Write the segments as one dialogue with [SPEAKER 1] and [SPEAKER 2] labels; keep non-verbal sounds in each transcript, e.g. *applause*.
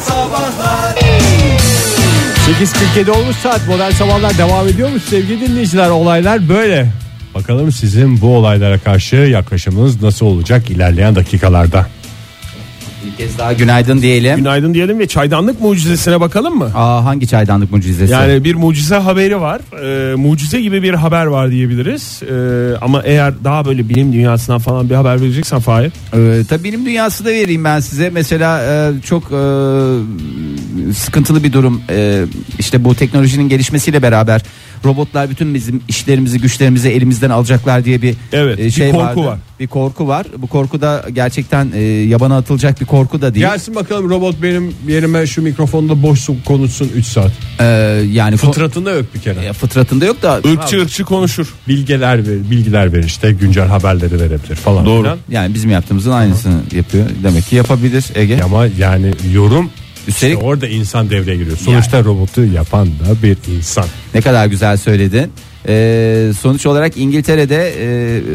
[SPEAKER 1] Sabahlar
[SPEAKER 2] 8.47 olmuş saat modern sabahlar devam ediyormuş sevgili dinleyiciler olaylar böyle. Bakalım sizin bu olaylara karşı yaklaşımınız nasıl olacak ilerleyen dakikalarda.
[SPEAKER 3] Bir kez daha günaydın diyelim.
[SPEAKER 4] Günaydın diyelim ve çaydanlık mucizesine bakalım mı?
[SPEAKER 3] Aa, hangi çaydanlık mucizesi?
[SPEAKER 4] Yani bir mucize haberi var. Ee, mucize gibi bir haber var diyebiliriz. Ee, ama eğer daha böyle bilim dünyasından falan bir haber vereceksen Fahir.
[SPEAKER 3] Ee, tabii benim dünyası da vereyim ben size. Mesela e, çok e, sıkıntılı bir durum. E, işte bu teknolojinin gelişmesiyle beraber robotlar bütün bizim işlerimizi, güçlerimizi elimizden alacaklar diye bir
[SPEAKER 4] Evet, bir
[SPEAKER 3] şey
[SPEAKER 4] korku
[SPEAKER 3] vardı.
[SPEAKER 4] var.
[SPEAKER 3] Bir korku var. Bu korku da gerçekten e, yabana atılacak bir korku da değil.
[SPEAKER 2] Gelsin bakalım robot benim yerime şu mikrofonda boş konuşsun 3 saat.
[SPEAKER 3] Ee, yani ko-
[SPEAKER 2] Fıtratında yok bir kere.
[SPEAKER 3] e, fıtratında yok da
[SPEAKER 4] Irkçı ırkçı konuşur.
[SPEAKER 2] Bilgiler ver, bilgiler ver işte güncel haberleri verebilir falan. filan.
[SPEAKER 3] yani bizim yaptığımızın aynısını yapıyor. Demek ki yapabilir Ege.
[SPEAKER 2] Ama yani yorum
[SPEAKER 3] Üstelik-
[SPEAKER 2] işte orada insan devreye giriyor. Sonuçta robotu yapan da bir insan.
[SPEAKER 3] Ne kadar güzel söyledin. Ee, sonuç olarak İngiltere'de e,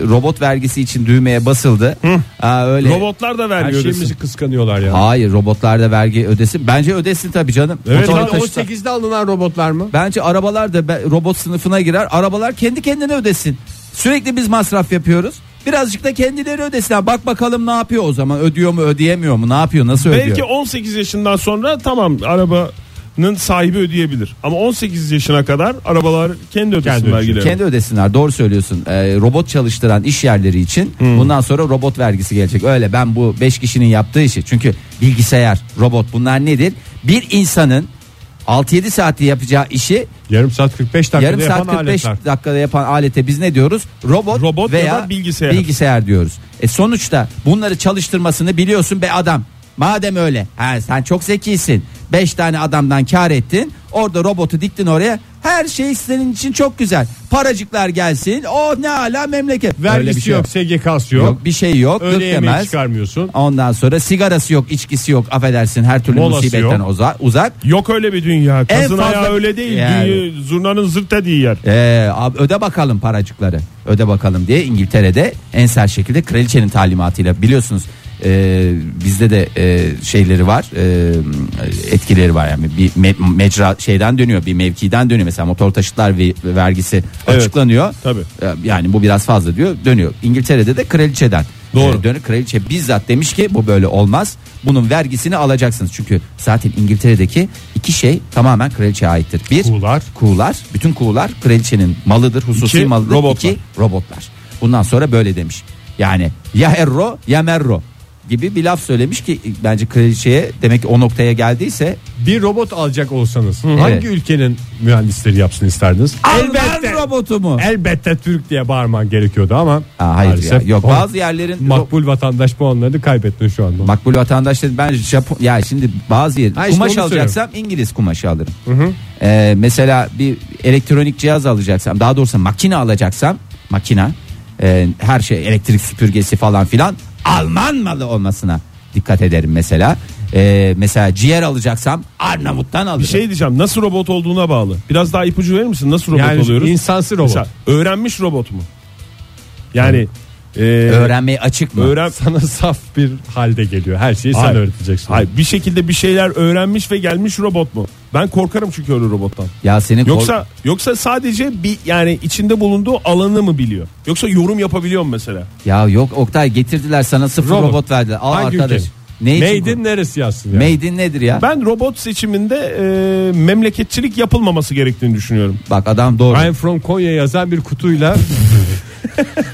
[SPEAKER 3] robot vergisi için düğmeye basıldı. Aa, öyle.
[SPEAKER 4] Robotlar da
[SPEAKER 2] Her
[SPEAKER 4] vermiyor. desin.
[SPEAKER 2] şeyimizi kıskanıyorlar ya.
[SPEAKER 3] Hayır robotlar da vergi ödesin. Bence ödesin tabii canım.
[SPEAKER 2] Evet,
[SPEAKER 3] Motorlu
[SPEAKER 2] lan
[SPEAKER 3] taşıta-
[SPEAKER 2] 18'de alınan robotlar mı?
[SPEAKER 3] Bence arabalar da be- robot sınıfına girer. Arabalar kendi kendine ödesin. Sürekli biz masraf yapıyoruz. Birazcık da kendileri ödesinler. Bak bakalım ne yapıyor o zaman. Ödüyor mu ödeyemiyor mu? Ne yapıyor nasıl ödüyor?
[SPEAKER 4] Belki 18 yaşından sonra tamam arabanın sahibi ödeyebilir. Ama 18 yaşına kadar arabalar kendi ödesin
[SPEAKER 2] ödesin.
[SPEAKER 4] vergileri.
[SPEAKER 3] Kendi ödesinler doğru söylüyorsun Ee, robot çalıştıran iş yerleri için bundan sonra robot vergisi gelecek öyle ben bu 5 kişinin yaptığı işi çünkü bilgisayar robot bunlar nedir bir insanın 6-7 saatte yapacağı işi
[SPEAKER 2] Yarım saat 45 dakikada
[SPEAKER 3] yarım
[SPEAKER 2] yapan
[SPEAKER 3] saat 45
[SPEAKER 2] aletler.
[SPEAKER 3] dakikada yapan alete biz ne diyoruz robot,
[SPEAKER 4] Robot ya
[SPEAKER 3] veya
[SPEAKER 4] da bilgisayar.
[SPEAKER 3] bilgisayar diyoruz e sonuçta bunları çalıştırmasını biliyorsun be adam madem öyle ha, sen çok zekisin 5 tane adamdan kar ettin orada robotu diktin oraya her şey senin için çok güzel paracıklar gelsin o ne ala memleket Öyle bir
[SPEAKER 2] Vergisi
[SPEAKER 3] şey
[SPEAKER 2] yok, SGK'sı yok.
[SPEAKER 3] yok. bir şey yok
[SPEAKER 2] Öyle
[SPEAKER 3] gık
[SPEAKER 2] yemeği
[SPEAKER 3] demez.
[SPEAKER 2] çıkarmıyorsun.
[SPEAKER 3] ondan sonra sigarası yok içkisi yok affedersin her türlü
[SPEAKER 4] Molası
[SPEAKER 3] musibetten
[SPEAKER 4] yok.
[SPEAKER 3] uza- uzak
[SPEAKER 4] Yok öyle bir dünya.
[SPEAKER 3] En
[SPEAKER 4] Kazın
[SPEAKER 3] fazla-
[SPEAKER 4] ayağı öyle değil.
[SPEAKER 3] Yani.
[SPEAKER 4] Dünya, zurnanın zırt dediği yer.
[SPEAKER 3] Ee, abi öde bakalım paracıkları öde bakalım diye İngiltere'de en sert şekilde kraliçenin talimatıyla biliyorsunuz e, bizde de e, şeyleri var e, etkileri var yani bir me- mecra şeyden dönüyor bir mevkiden dönüyor mesela motor taşıtlar ve- vergisi
[SPEAKER 4] Evet,
[SPEAKER 3] açıklanıyor
[SPEAKER 4] tabii.
[SPEAKER 3] E, yani bu biraz fazla diyor dönüyor İngiltere'de de kraliçeden
[SPEAKER 4] Doğru.
[SPEAKER 3] e, dönüyor kraliçe bizzat demiş ki bu böyle olmaz bunun vergisini alacaksınız çünkü zaten İngiltere'deki iki şey tamamen kraliçeye aittir bir
[SPEAKER 2] Kuğular.
[SPEAKER 3] kuğular bütün kuğular kraliçenin malıdır hususi
[SPEAKER 4] İki,
[SPEAKER 3] malıdır
[SPEAKER 4] robotlar.
[SPEAKER 3] İki, robotlar bundan sonra böyle demiş yani ya erro ya merro gibi bir laf söylemiş ki bence kraliçeye demek ki o noktaya geldiyse
[SPEAKER 2] Bir robot alacak olsanız hangi
[SPEAKER 3] Evet.
[SPEAKER 2] ülkenin mühendisleri yapsın isterdiniz?
[SPEAKER 3] elbette robotu mu?
[SPEAKER 2] Elbette Türk diye bağırman gerekiyordu ama
[SPEAKER 3] Aa, hayır ya,
[SPEAKER 2] E- maalesef
[SPEAKER 3] yok
[SPEAKER 2] o
[SPEAKER 3] bazı yerlerin
[SPEAKER 2] makbul vatandaş puanlarını kaybettin şu anda.
[SPEAKER 3] Makbul vatandaş dedi ben Japon ya şimdi bazı yer
[SPEAKER 2] Ha işte
[SPEAKER 3] kumaş
[SPEAKER 2] onu
[SPEAKER 3] alacaksam İngiliz kumaşı alırım. Ee, mesela bir elektronik cihaz alacaksam daha doğrusu makine alacaksam makina e, her şey elektrik süpürgesi falan filan Alman malı olmasına dikkat ederim mesela. Ee, mesela ciğer alacaksam Arnavut'tan alırım.
[SPEAKER 4] Bir şey diyeceğim nasıl robot olduğuna bağlı. Biraz daha ipucu verir misin? Nasıl robot
[SPEAKER 2] yani
[SPEAKER 4] oluyoruz?
[SPEAKER 2] insansı robot.
[SPEAKER 4] Mesela öğrenmiş robot mu? Yani e,
[SPEAKER 3] Öğrenmeye açık mı?
[SPEAKER 4] öğren
[SPEAKER 2] Sana saf bir halde geliyor. Her şeyi sen
[SPEAKER 4] Hayır.
[SPEAKER 2] öğreteceksin.
[SPEAKER 4] Hayır, bir şekilde bir şeyler öğrenmiş ve gelmiş robot mu? Ben korkarım çünkü öyle robottan.
[SPEAKER 3] ya senin kor-
[SPEAKER 4] Yoksa yoksa sadece bir yani içinde bulunduğu alanı mı biliyor? Yoksa yorum yapabiliyor mu mesela?
[SPEAKER 3] ya yok Oktay getirdiler sana sıfır robot,
[SPEAKER 2] Robot.
[SPEAKER 3] verdiler. Al
[SPEAKER 2] Hangi
[SPEAKER 3] arkadaş.
[SPEAKER 2] ülke?
[SPEAKER 3] Ne için
[SPEAKER 2] Made
[SPEAKER 3] kur-
[SPEAKER 2] in neresi yazsın yani?
[SPEAKER 3] Made in nedir ya?
[SPEAKER 4] Ben robot seçiminde e, memleketçilik yapılmaması gerektiğini düşünüyorum.
[SPEAKER 3] Bak adam doğru.
[SPEAKER 2] I'm from Konya yazan bir kutuyla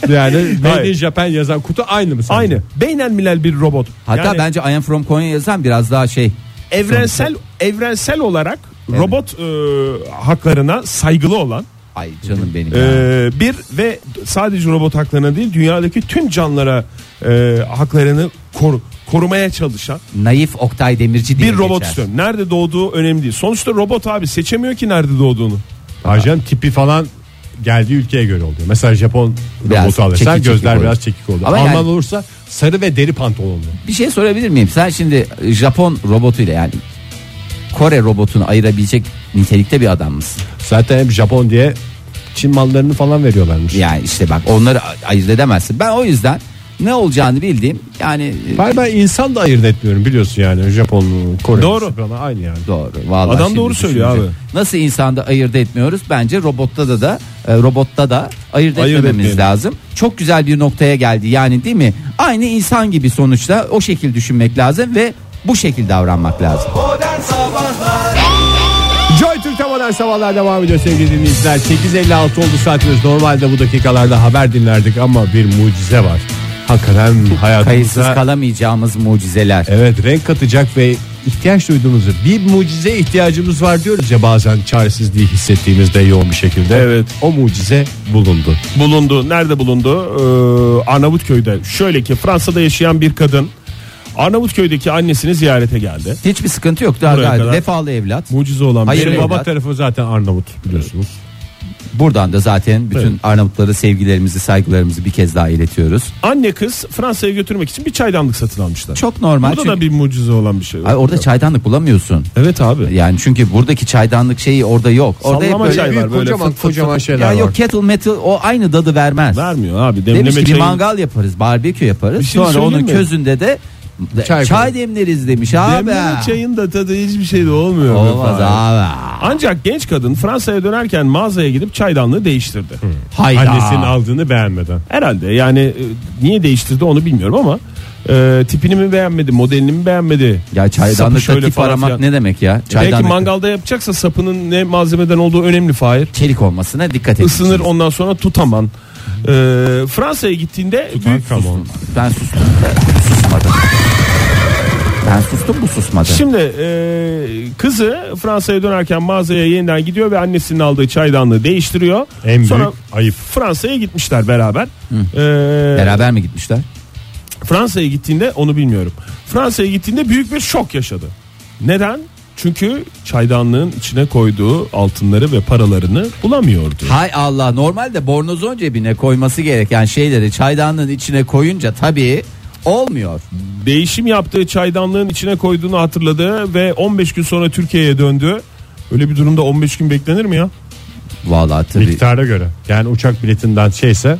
[SPEAKER 2] yani Made in
[SPEAKER 4] Hayır.
[SPEAKER 2] Japan yazan kutu aynı mı? sence?
[SPEAKER 4] Aynı. Beynelmilel bir robot.
[SPEAKER 3] Hatta
[SPEAKER 4] Yani
[SPEAKER 3] bence I am from Konya yazan biraz daha şey.
[SPEAKER 4] evrensel evrensel olarak
[SPEAKER 3] Evet.
[SPEAKER 4] robot e, haklarına saygılı olan
[SPEAKER 3] Ay canım benim
[SPEAKER 4] e,
[SPEAKER 3] ya.
[SPEAKER 4] bir ve sadece robot haklarına değil dünyadaki tüm canlılara e, haklarını koru- korumaya çalışan
[SPEAKER 3] Naif Oktay Demirci diye
[SPEAKER 4] bir robot
[SPEAKER 3] geçer.
[SPEAKER 4] istiyorum. Nerede doğduğu önemli değil. Sonuçta robot abi seçemiyor ki nerede doğduğunu.
[SPEAKER 2] Ajan tipi falan geldiği ülkeye göre oluyor. Mesela Japon
[SPEAKER 3] Biraz
[SPEAKER 2] robotu alırsan
[SPEAKER 3] çekik
[SPEAKER 2] gözler
[SPEAKER 3] çekik
[SPEAKER 2] biraz
[SPEAKER 3] olur.
[SPEAKER 2] çekik olur.
[SPEAKER 3] Ama
[SPEAKER 2] Alman
[SPEAKER 3] yani-
[SPEAKER 2] olursa sarı ve deri pantolonlu.
[SPEAKER 3] Bir şey sorabilir miyim? Sen şimdi e, Japon robotuyla yani Kore robotunu ayırabilecek nitelikte bir adam mısın?
[SPEAKER 2] Zaten hep Japon diye Çin mallarını falan veriyorlarmış.
[SPEAKER 3] Yani işte bak onları a- ayırt edemezsin. Ben o yüzden ne olacağını bildiğim yani e,
[SPEAKER 2] Ben, ben insan da ayırt etmiyorum biliyorsun yani Japon, Kore.
[SPEAKER 4] Doğru.
[SPEAKER 2] Bana aynı yani.
[SPEAKER 3] Doğru. Vallahi
[SPEAKER 4] Adam
[SPEAKER 3] şimdi
[SPEAKER 4] doğru söylüyor
[SPEAKER 3] düşününce. Nasıl insanda ayırt etmiyoruz? Bence robotta da da e, robotta da ayırt,
[SPEAKER 4] Ayırt
[SPEAKER 3] etmememiz
[SPEAKER 4] etmeyelim.
[SPEAKER 3] lazım. Çok güzel bir noktaya geldi. Yani değil mi? Aynı insan gibi sonuçta o şekil düşünmek lazım ve bu şekil davranmak lazım.
[SPEAKER 2] Joy Türk'te modern sabahlar devam ediyor sevgili dinleyiciler. 8.56 oldu saatimiz. Normalde bu dakikalarda haber dinlerdik ama bir mucize var. Hakikaten
[SPEAKER 3] Kayıtsız
[SPEAKER 2] hayatımıza
[SPEAKER 3] kalamayacağımız mucizeler.
[SPEAKER 2] Evet renk katacak ve ihtiyaç duyduğumuzu bir mucize ihtiyacımız var diyoruz ya bazen çaresizliği hissettiğimizde yoğun bir şekilde.
[SPEAKER 4] Evet.
[SPEAKER 2] O mucize bulundu.
[SPEAKER 4] bulundu. Nerede bulundu? Ee, Arnavutköy'de. Şöyle ki Fransa'da yaşayan bir kadın Arnavutköy'deki annesini ziyarete geldi.
[SPEAKER 3] Hiçbir sıkıntı yok daha
[SPEAKER 4] Buraya
[SPEAKER 3] gayet
[SPEAKER 4] kadar.
[SPEAKER 3] vefalı evlat.
[SPEAKER 4] Mucize olan
[SPEAKER 3] Hayır,
[SPEAKER 4] bir
[SPEAKER 2] Benim
[SPEAKER 4] şey.
[SPEAKER 3] evlat.
[SPEAKER 2] baba tarafı zaten Arnavut biliyorsunuz.
[SPEAKER 3] Buradan da zaten bütün Arnavutlara sevgilerimizi, saygılarımızı bir kez daha iletiyoruz.
[SPEAKER 4] Anne kız Fransa'ya götürmek için bir çaydanlık satın almışlar.
[SPEAKER 3] Çok normal.
[SPEAKER 4] Burada
[SPEAKER 3] çünkü-
[SPEAKER 4] da bir mucize olan bir şey.
[SPEAKER 3] Ay, orada çaydanlık bulamıyorsun.
[SPEAKER 4] Evet abi.
[SPEAKER 3] Yani çünkü buradaki çaydanlık şeyi orada yok. Orada
[SPEAKER 4] Sallama
[SPEAKER 3] böyle
[SPEAKER 4] çay
[SPEAKER 2] Büyük
[SPEAKER 4] var böyle
[SPEAKER 2] kocaman
[SPEAKER 4] fıt fıt fıt.
[SPEAKER 2] kocaman şeyler
[SPEAKER 3] Ya
[SPEAKER 2] var.
[SPEAKER 3] yok kettle metal o aynı dadı vermez.
[SPEAKER 4] Vermiyor abi. Demleme
[SPEAKER 3] Demiş ki bir
[SPEAKER 4] çayın-
[SPEAKER 3] mangal yaparız, barbekü
[SPEAKER 4] şey- Bir
[SPEAKER 3] yaparız.
[SPEAKER 4] şey
[SPEAKER 3] Sonra
[SPEAKER 4] söyleyeyim
[SPEAKER 3] onun
[SPEAKER 4] mi?
[SPEAKER 3] közünde de
[SPEAKER 2] Çay
[SPEAKER 3] çay, demleriz demiş abi.
[SPEAKER 4] Demleme çayın da tadı hiçbir şey de olmuyor. be
[SPEAKER 3] Olmaz
[SPEAKER 4] falan.
[SPEAKER 3] abi.
[SPEAKER 4] Ancak genç kadın Fransa'ya dönerken mağazaya gidip çaydanlığı değiştirdi.
[SPEAKER 3] Hayda.
[SPEAKER 2] Annesinin aldığını beğenmeden.
[SPEAKER 4] Herhalde yani e, niye değiştirdi onu bilmiyorum ama e, tipini mi beğenmedi, modelini mi beğenmedi?
[SPEAKER 3] Ya
[SPEAKER 4] Sapı
[SPEAKER 3] çaydanlıkta
[SPEAKER 4] şöyle
[SPEAKER 3] tip
[SPEAKER 4] falan
[SPEAKER 3] aramak
[SPEAKER 4] filan.
[SPEAKER 3] ne demek ya?
[SPEAKER 4] Belki
[SPEAKER 3] Çaydanlıkta
[SPEAKER 4] mangalda yapacaksa sapının ne malzemeden olduğu önemli Fahir.
[SPEAKER 3] çelik olmasına dikkat et.
[SPEAKER 4] Isınır ondan sonra tutaman. E, Fransa'ya gittiğinde büyük-
[SPEAKER 2] Tamam.
[SPEAKER 3] Ben sustum. Susmadım. Ben sustum bu susmadı.
[SPEAKER 4] Şimdi e, kızı Fransa'ya dönerken mağazaya yeniden gidiyor ve annesinin aldığı çaydanlığı değiştiriyor.
[SPEAKER 2] En
[SPEAKER 4] Sonra
[SPEAKER 2] büyük ayıp.
[SPEAKER 4] Fransa'ya gitmişler beraber. E,
[SPEAKER 3] Beraber mi gitmişler?
[SPEAKER 4] Fransa'ya gittiğinde onu bilmiyorum. Fransa'ya gittiğinde büyük bir şok yaşadı. Neden? Çünkü çaydanlığın içine koyduğu altınları ve paralarını bulamıyordu.
[SPEAKER 3] Hay Allah normalde bornozon cebine koyması gereken şeyleri çaydanlığın içine koyunca tabii olmuyor.
[SPEAKER 4] Değişim yaptığı çaydanlığın içine koyduğunu hatırladı ve 15 gün sonra Türkiye'ye döndü. Öyle bir durumda 15 gün beklenir mi ya?
[SPEAKER 3] Vallahi tabii.
[SPEAKER 2] Miktara göre. Yani uçak biletinden şeyse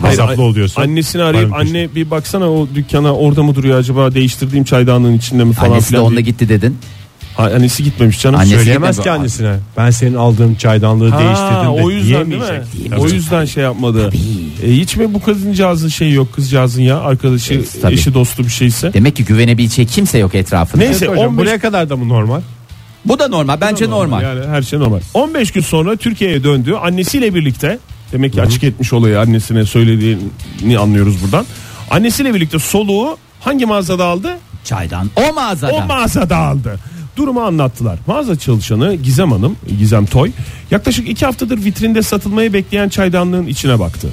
[SPEAKER 4] Hayır,
[SPEAKER 2] hesaplı
[SPEAKER 4] a-
[SPEAKER 2] oluyorsun.
[SPEAKER 4] Annesini arayıp
[SPEAKER 2] Varmış.
[SPEAKER 4] anne bir baksana o dükkana orada mı duruyor acaba değiştirdiğim çaydanlığın içinde mi falan
[SPEAKER 3] Annesi de
[SPEAKER 4] filan.
[SPEAKER 3] onunla
[SPEAKER 4] diye-
[SPEAKER 3] gitti dedin.
[SPEAKER 4] Ha, annesi gitmemiş canım.
[SPEAKER 3] Annesi
[SPEAKER 4] Söyle-
[SPEAKER 2] Söyleyemez
[SPEAKER 3] Gitme
[SPEAKER 2] ki
[SPEAKER 3] bu-
[SPEAKER 2] annesine. Ben senin aldığım çaydanlığı
[SPEAKER 4] Ha,
[SPEAKER 2] değiştirdim de
[SPEAKER 4] o yüzden değil mi?
[SPEAKER 2] diyemeyecek.
[SPEAKER 4] O
[SPEAKER 2] Tabii.
[SPEAKER 4] yüzden şey yapmadı. E, hiç mi bu kadıncağızın şeyi yok kızcağızın ya arkadaşı
[SPEAKER 3] Evet, tabii.
[SPEAKER 4] eşi dostu bir şeyse.
[SPEAKER 3] Demek ki güvenebileceği kimse yok etrafında.
[SPEAKER 4] Neyse
[SPEAKER 2] Hocam,
[SPEAKER 4] 15
[SPEAKER 2] buraya kadar da mı normal?
[SPEAKER 3] Bu da normal. Bence normal.
[SPEAKER 4] Yani her şey normal. 15 gün sonra Türkiye'ye döndü. Annesiyle birlikte demek ki açık etmiş olayı annesine söylediğini anlıyoruz buradan. Annesiyle birlikte soluğu hangi mağazada aldı?
[SPEAKER 3] Çaydan o mağazada.
[SPEAKER 4] O mağazada aldı. Durumu anlattılar. Mağaza çalışanı Gizem Hanım, Gizem Toy yaklaşık iki haftadır vitrinde satılmayı bekleyen çaydanlığın içine baktı.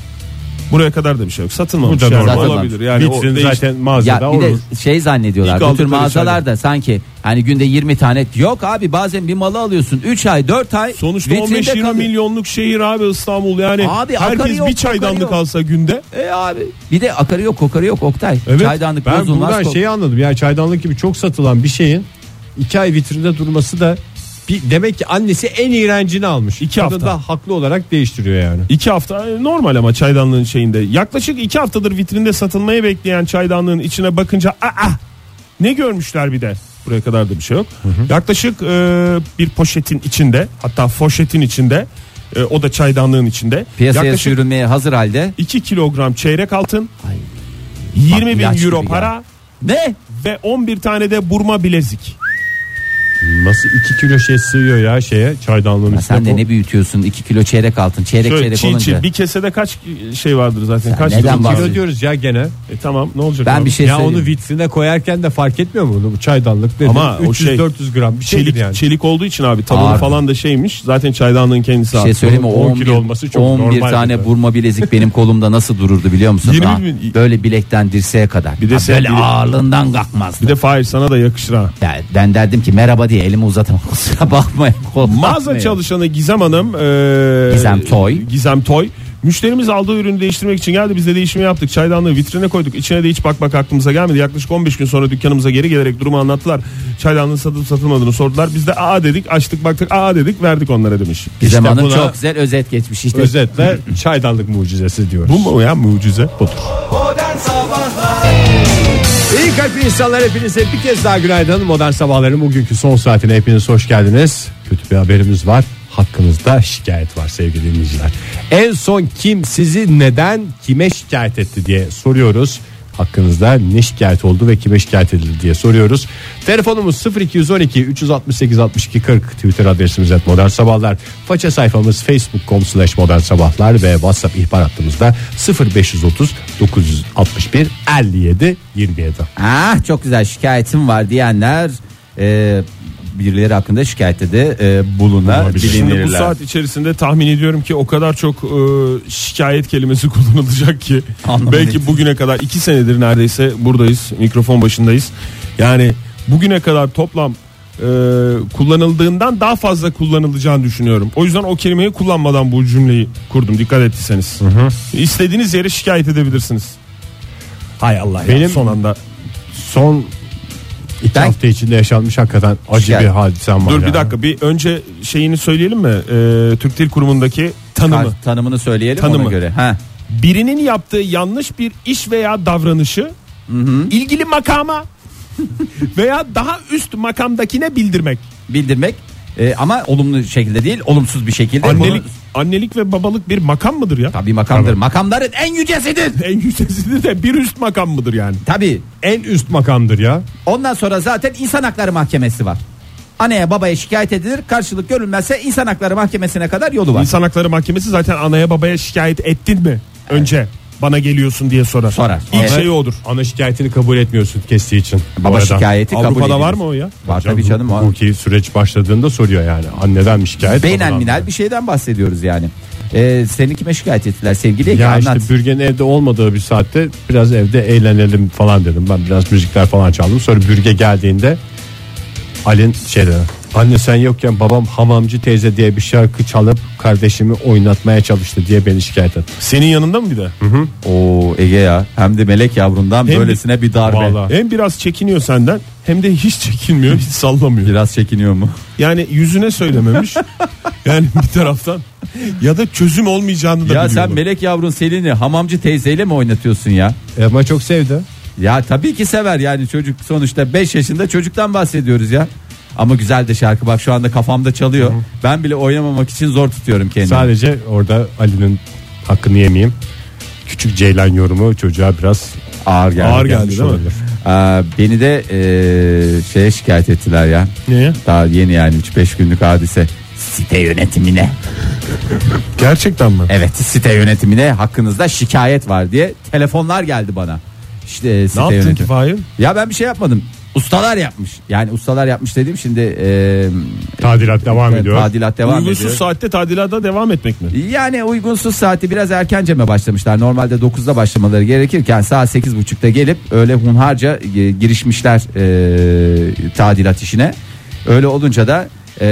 [SPEAKER 4] Buraya kadar da bir şey yok. Satılmamış
[SPEAKER 2] Bu da
[SPEAKER 4] yani
[SPEAKER 2] normal.
[SPEAKER 4] olabilir. Yani o
[SPEAKER 2] Vitrin
[SPEAKER 4] değiş-
[SPEAKER 2] zaten
[SPEAKER 3] ya
[SPEAKER 2] mağazada
[SPEAKER 3] bir
[SPEAKER 2] olur.
[SPEAKER 3] de şey
[SPEAKER 4] İlk
[SPEAKER 3] zannediyorlar. Bu tür
[SPEAKER 4] aldıkları
[SPEAKER 3] mağazalarda sanki hani günde 20 tane yok abi bazen bir malı alıyorsun 3 ay 4 ay
[SPEAKER 4] Sonuçta
[SPEAKER 3] vitrinde
[SPEAKER 4] 15-20
[SPEAKER 3] kalıyor.
[SPEAKER 4] milyonluk şehir abi İstanbul yani
[SPEAKER 3] Abi akarı
[SPEAKER 4] herkes
[SPEAKER 3] yok,
[SPEAKER 4] bir çaydanlık
[SPEAKER 3] kokarı yok.
[SPEAKER 4] alsa günde
[SPEAKER 3] E abi bir de akarı yok kokarı yok Oktay.
[SPEAKER 2] Evet,
[SPEAKER 3] Çaydanlık
[SPEAKER 2] ben
[SPEAKER 3] bozulmaz.
[SPEAKER 2] buradan
[SPEAKER 3] kok-
[SPEAKER 2] şeyi anladım. Yani çaydanlık gibi çok satılan bir şeyin iki ay vitrinde durması da bir, demek ki annesi en iğrencini almış.
[SPEAKER 4] İki
[SPEAKER 2] Kadın
[SPEAKER 4] hafta.
[SPEAKER 2] da haklı olarak değiştiriyor yani.
[SPEAKER 4] iki hafta e, normal ama çaydanlığın şeyinde yaklaşık iki haftadır vitrinde satılmayı bekleyen çaydanlığın içine bakınca aa ah, ne görmüşler bir de buraya kadar da bir şey yok. Yaklaşık e, bir poşetin içinde hatta foşetin içinde e, o da çaydanlığın içinde
[SPEAKER 3] Piyasaya
[SPEAKER 4] yaklaşık
[SPEAKER 3] sürülmeye hazır halde.
[SPEAKER 4] 2 kilogram çeyrek altın
[SPEAKER 3] Ay.
[SPEAKER 4] 20
[SPEAKER 3] ilaç
[SPEAKER 4] bin
[SPEAKER 3] gibi
[SPEAKER 4] euro
[SPEAKER 3] ya.
[SPEAKER 4] para
[SPEAKER 3] Ne?
[SPEAKER 4] ve 11 tane de burma bilezik.
[SPEAKER 2] Nasıl iki kilo şey sığıyor ya şeye çaydanlığın
[SPEAKER 3] Ya
[SPEAKER 2] üstüne.
[SPEAKER 3] sen de
[SPEAKER 2] bu-
[SPEAKER 3] ne büyütüyorsun 2 kilo çeyrek altın çeyrek
[SPEAKER 4] Şöyle
[SPEAKER 3] çeyrek
[SPEAKER 4] çiğ
[SPEAKER 3] olunca.
[SPEAKER 4] çiğ bir kesede kaç şey vardır zaten
[SPEAKER 3] Sen
[SPEAKER 4] kaç
[SPEAKER 3] neden
[SPEAKER 4] kilo?
[SPEAKER 3] bahsediyorsun?
[SPEAKER 2] Kilo diyoruz ya gene.
[SPEAKER 4] E tamam ne olacak?
[SPEAKER 3] Ben
[SPEAKER 4] abi?
[SPEAKER 3] bir şey
[SPEAKER 2] ya onu
[SPEAKER 3] söyleyeyim.
[SPEAKER 2] vitrine koyarken de fark etmiyor mu bunu? Bu çaydanlık dedi.
[SPEAKER 4] Ama o
[SPEAKER 2] 300-400
[SPEAKER 4] şey-
[SPEAKER 2] gram bir şey
[SPEAKER 4] çelik
[SPEAKER 2] yani.
[SPEAKER 4] çelik olduğu için abi tabanı
[SPEAKER 3] Ağır.
[SPEAKER 4] falan da şeymiş. Zaten çaydanlığın kendisi
[SPEAKER 3] Bir şey
[SPEAKER 4] ağır.
[SPEAKER 3] söyleyeyim mi?
[SPEAKER 2] Onun 10
[SPEAKER 3] 11,
[SPEAKER 2] kilo olması çok
[SPEAKER 3] 11
[SPEAKER 2] normal
[SPEAKER 3] tane
[SPEAKER 2] bir de.
[SPEAKER 3] burma bilezik benim kolumda nasıl dururdu biliyor musun?
[SPEAKER 4] 20
[SPEAKER 3] Ha,
[SPEAKER 4] bin-
[SPEAKER 3] Böyle bilekten dirseğe kadar.
[SPEAKER 4] Bir de
[SPEAKER 3] Ha,
[SPEAKER 4] sen-
[SPEAKER 3] böyle
[SPEAKER 4] bir de-
[SPEAKER 3] ağırlığından kalkmazdı.
[SPEAKER 4] Bir de Fahir sana da yakışır ha.
[SPEAKER 3] Ya ben derdim ki merhaba diye elimi *laughs* uzatım. Kusura bakmayın. kolum
[SPEAKER 4] Mağaza
[SPEAKER 3] kalkmıyor.
[SPEAKER 4] çalışanı Gizem Hanım e,
[SPEAKER 3] Gizem Toy.
[SPEAKER 4] Gizem Toy Müşterimiz aldığı ürünü değiştirmek için geldi. Biz de değişimi yaptık. Çaydanlığı vitrine koyduk. İçine de hiç bakmak aklımıza gelmedi. Yaklaşık 15 gün sonra dükkanımıza geri gelerek durumu anlattılar. Çaydanlığın satılıp satılmadığını sordular. Biz de aa dedik açtık baktık aa dedik verdik onlara demiş.
[SPEAKER 3] Bir zamanın
[SPEAKER 2] buna-
[SPEAKER 3] çok güzel özet geçmiş işte.
[SPEAKER 2] Özetle çaydanlık mucizesi diyoruz.
[SPEAKER 4] Bu mu ya mucize? Budur.
[SPEAKER 2] İyi kalp insanlar hepinize bir kez daha günaydın. Modern Sabahların bugünkü son saatine hepiniz hoş geldiniz. Kötü bir haberimiz var. Hakkınızda şikayet var sevgili dinleyiciler. En son kim sizi neden kime şikayet etti diye soruyoruz. Hakkınızda ne şikayet oldu ve kime şikayet edildi diye soruyoruz. Telefonumuz 0212 368 62 40 Twitter adresimiz et modern sabahlar. Faça sayfamız facebook.com slash modern sabahlar ve whatsapp ihbar hattımızda 0530 961 57 27.
[SPEAKER 3] Ah çok güzel şikayetim var diyenler e, birileri hakkında şikayette de e,
[SPEAKER 2] Bulunabilir.
[SPEAKER 4] Şimdi
[SPEAKER 3] bulunabilirler.
[SPEAKER 4] bu saat içerisinde tahmin ediyorum ki o kadar çok e, şikayet kelimesi *laughs* kullanılacak ki
[SPEAKER 3] Anlamadım.
[SPEAKER 4] belki bugüne kadar iki senedir neredeyse buradayız mikrofon başındayız. Yani bugüne kadar toplam e, kullanıldığından daha fazla kullanılacağını düşünüyorum. O yüzden o kelimeyi kullanmadan bu cümleyi kurdum dikkat ettiyseniz. İstediğiniz yere şikayet edebilirsiniz.
[SPEAKER 2] Hay Allah
[SPEAKER 4] Benim
[SPEAKER 2] son,
[SPEAKER 4] son anda
[SPEAKER 2] son iki
[SPEAKER 3] Ben-
[SPEAKER 2] hafta içinde yaşanmış hakikaten acı
[SPEAKER 3] Şikayet.
[SPEAKER 2] bir hadisem var.
[SPEAKER 4] dur
[SPEAKER 2] ya.
[SPEAKER 4] bir dakika bir önce şeyini söyleyelim mi? E, Türk Dil Kurumu'ndaki tanımı.
[SPEAKER 3] Kar- tanımını söyleyelim ona
[SPEAKER 4] Tanımı.
[SPEAKER 3] göre. Ha.
[SPEAKER 4] birinin yaptığı yanlış bir iş veya davranışı
[SPEAKER 2] *laughs*
[SPEAKER 4] ilgili makama veya daha üst makamdakine bildirmek.
[SPEAKER 3] Bildirmek e, ama olumlu şekilde değil olumsuz bir şekilde.
[SPEAKER 2] E,
[SPEAKER 4] Annelik
[SPEAKER 3] Bunu-
[SPEAKER 4] annelik ve babalık bir makam mıdır ya?
[SPEAKER 3] Tabii makamdır. Makamların en yücesidir.
[SPEAKER 4] En yüksesidir de bir üst makam mıdır yani?
[SPEAKER 3] Tabii.
[SPEAKER 2] En üst makamdır ya.
[SPEAKER 3] Ondan sonra zaten insan hakları mahkemesi var. Anneye babaya şikayet edilir. Karşılık görülmezse insan hakları mahkemesine kadar yolu var.
[SPEAKER 4] İnsan Hakları Mahkemesi zaten anaya babaya şikayet ettin mi? Önce bana geliyorsun diye sorar.
[SPEAKER 3] Sorar.
[SPEAKER 4] İlk
[SPEAKER 3] Ama-
[SPEAKER 4] şey odur.
[SPEAKER 2] Ana şikayetini kabul etmiyorsun kestiği için.
[SPEAKER 3] Baba
[SPEAKER 2] Bu arada.
[SPEAKER 3] şikayeti kabul
[SPEAKER 4] Avrupa'da
[SPEAKER 3] edilir.
[SPEAKER 4] var mı o ya?
[SPEAKER 3] Var tabii canım. var.
[SPEAKER 2] Hukuki süreç başladığında soruyor yani. Anneden mi şikayet?
[SPEAKER 3] Beynel
[SPEAKER 2] babadan mı?
[SPEAKER 3] minel bir şeyden bahsediyoruz yani. Ee, seni kime şikayet ettiler sevgili Ege
[SPEAKER 2] Ya
[SPEAKER 3] anlat.
[SPEAKER 2] işte Bürgen'in evde olmadığı bir saatte biraz evde eğlenelim falan dedim. Ben biraz müzikler falan çaldım. Sonra Bürge geldiğinde Ali'nin şey dedi. Anne sen yokken babam hamamcı teyze diye bir şarkı çalıp kardeşimi oynatmaya çalıştı diye beni şikayet etti.
[SPEAKER 4] Senin yanında mı bir de?
[SPEAKER 3] Oo Ege ya hem de melek yavrundan
[SPEAKER 4] Hem-
[SPEAKER 3] böylesine bir darbe.
[SPEAKER 2] Vallahi.
[SPEAKER 4] Hem biraz çekiniyor senden hem de hiç çekinmiyor hiç sallamıyor.
[SPEAKER 3] Biraz çekiniyor mu?
[SPEAKER 4] Yani
[SPEAKER 2] *laughs*
[SPEAKER 4] yüzüne söylememiş. yani bir taraftan ya da çözüm olmayacağını da
[SPEAKER 3] ya
[SPEAKER 4] biliyor
[SPEAKER 3] sen
[SPEAKER 4] bu.
[SPEAKER 3] melek yavrun Selin'i hamamcı teyzeyle mi oynatıyorsun ya?
[SPEAKER 2] Ama çok sevdi.
[SPEAKER 3] Ya tabii ki sever yani çocuk sonuçta 5 yaşında çocuktan bahsediyoruz ya. Ama güzel de şarkı bak şu anda kafamda çalıyor. Ben bile oynamamak için zor tutuyorum kendimi.
[SPEAKER 2] Sadece orada Ali'nin hakkını yemeyeyim. Küçük Ceylan yorumu çocuğa biraz
[SPEAKER 3] Ağır geldi.
[SPEAKER 4] Ağır geldi
[SPEAKER 2] gelmiş
[SPEAKER 4] değil mi?
[SPEAKER 2] olabilir.
[SPEAKER 3] Aa, beni de eee, şeye şikayet ettiler ya.
[SPEAKER 4] Neye?
[SPEAKER 3] Daha yeni yani 3-5 günlük hadise. Site yönetimine.
[SPEAKER 4] Gerçekten mi?
[SPEAKER 3] Evet site yönetimine hakkınızda şikayet var diye telefonlar geldi bana. İşte e, site
[SPEAKER 4] ne yaptın ki
[SPEAKER 3] yönetimi.
[SPEAKER 4] Fahir?
[SPEAKER 3] Ya ben bir şey yapmadım. Ustalar yapmış. Yani ustalar yapmış dediğim şimdi e,
[SPEAKER 2] Tadilat devam ediyor.
[SPEAKER 3] tadilat devam
[SPEAKER 4] Uygunsuz
[SPEAKER 3] ediyor.
[SPEAKER 4] saatte tadilata devam etmek mi?
[SPEAKER 3] Yani uygunsuz saati biraz erkenceme başlamışlar. Normalde 9'da başlamaları gerekirken saat 8.30'da gelip öyle hunharca e, girişmişler e, tadilat işine. Öyle olunca da e,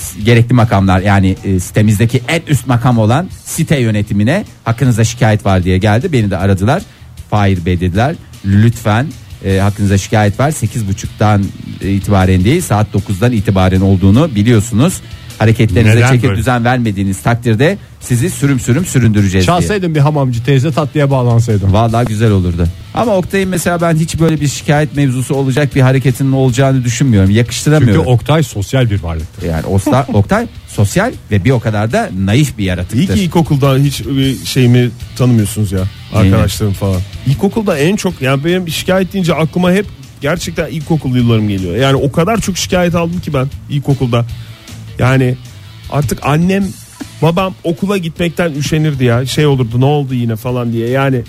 [SPEAKER 3] s- gerekli makamlar yani e, sitemizdeki en üst makam olan site yönetimine hakkınızda şikayet var diye geldi. Beni de aradılar. Fahir Bey dediler. Lütfen e, hakkınızda şikayet var. 8.30'dan itibaren değil saat 9'dan itibaren olduğunu biliyorsunuz. Hareketlerinize
[SPEAKER 2] Neden
[SPEAKER 3] çeki
[SPEAKER 2] böyle?
[SPEAKER 3] düzen vermediğiniz takdirde sizi sürüm sürüm süründüreceğiz diye.
[SPEAKER 2] Çalsaydın bir hamamcı teyze tatlıya bağlansaydım.
[SPEAKER 3] Vallahi güzel olurdu. Ama Oktay'ın mesela ben hiç böyle bir şikayet mevzusu olacak bir hareketinin olacağını düşünmüyorum.
[SPEAKER 2] Çünkü
[SPEAKER 3] Yakıştıramıyorum.
[SPEAKER 2] Oktay sosyal bir varlıktır.
[SPEAKER 3] Yani
[SPEAKER 4] *laughs*
[SPEAKER 3] Osta, Oktay sosyal ve bir o kadar da naif bir yaratıktır.
[SPEAKER 4] İyi ki ilkokulda hiç bir şeyimi tanımıyorsunuz ya arkadaşlarım falan. İlkokulda en çok yani benim şikayet deyince aklıma hep gerçekten ilkokul yıllarım geliyor. Yani o kadar çok şikayet aldım ki ben ilkokulda. Yani artık annem babam okula gitmekten üşenirdi ya şey olurdu ne oldu yine falan diye yani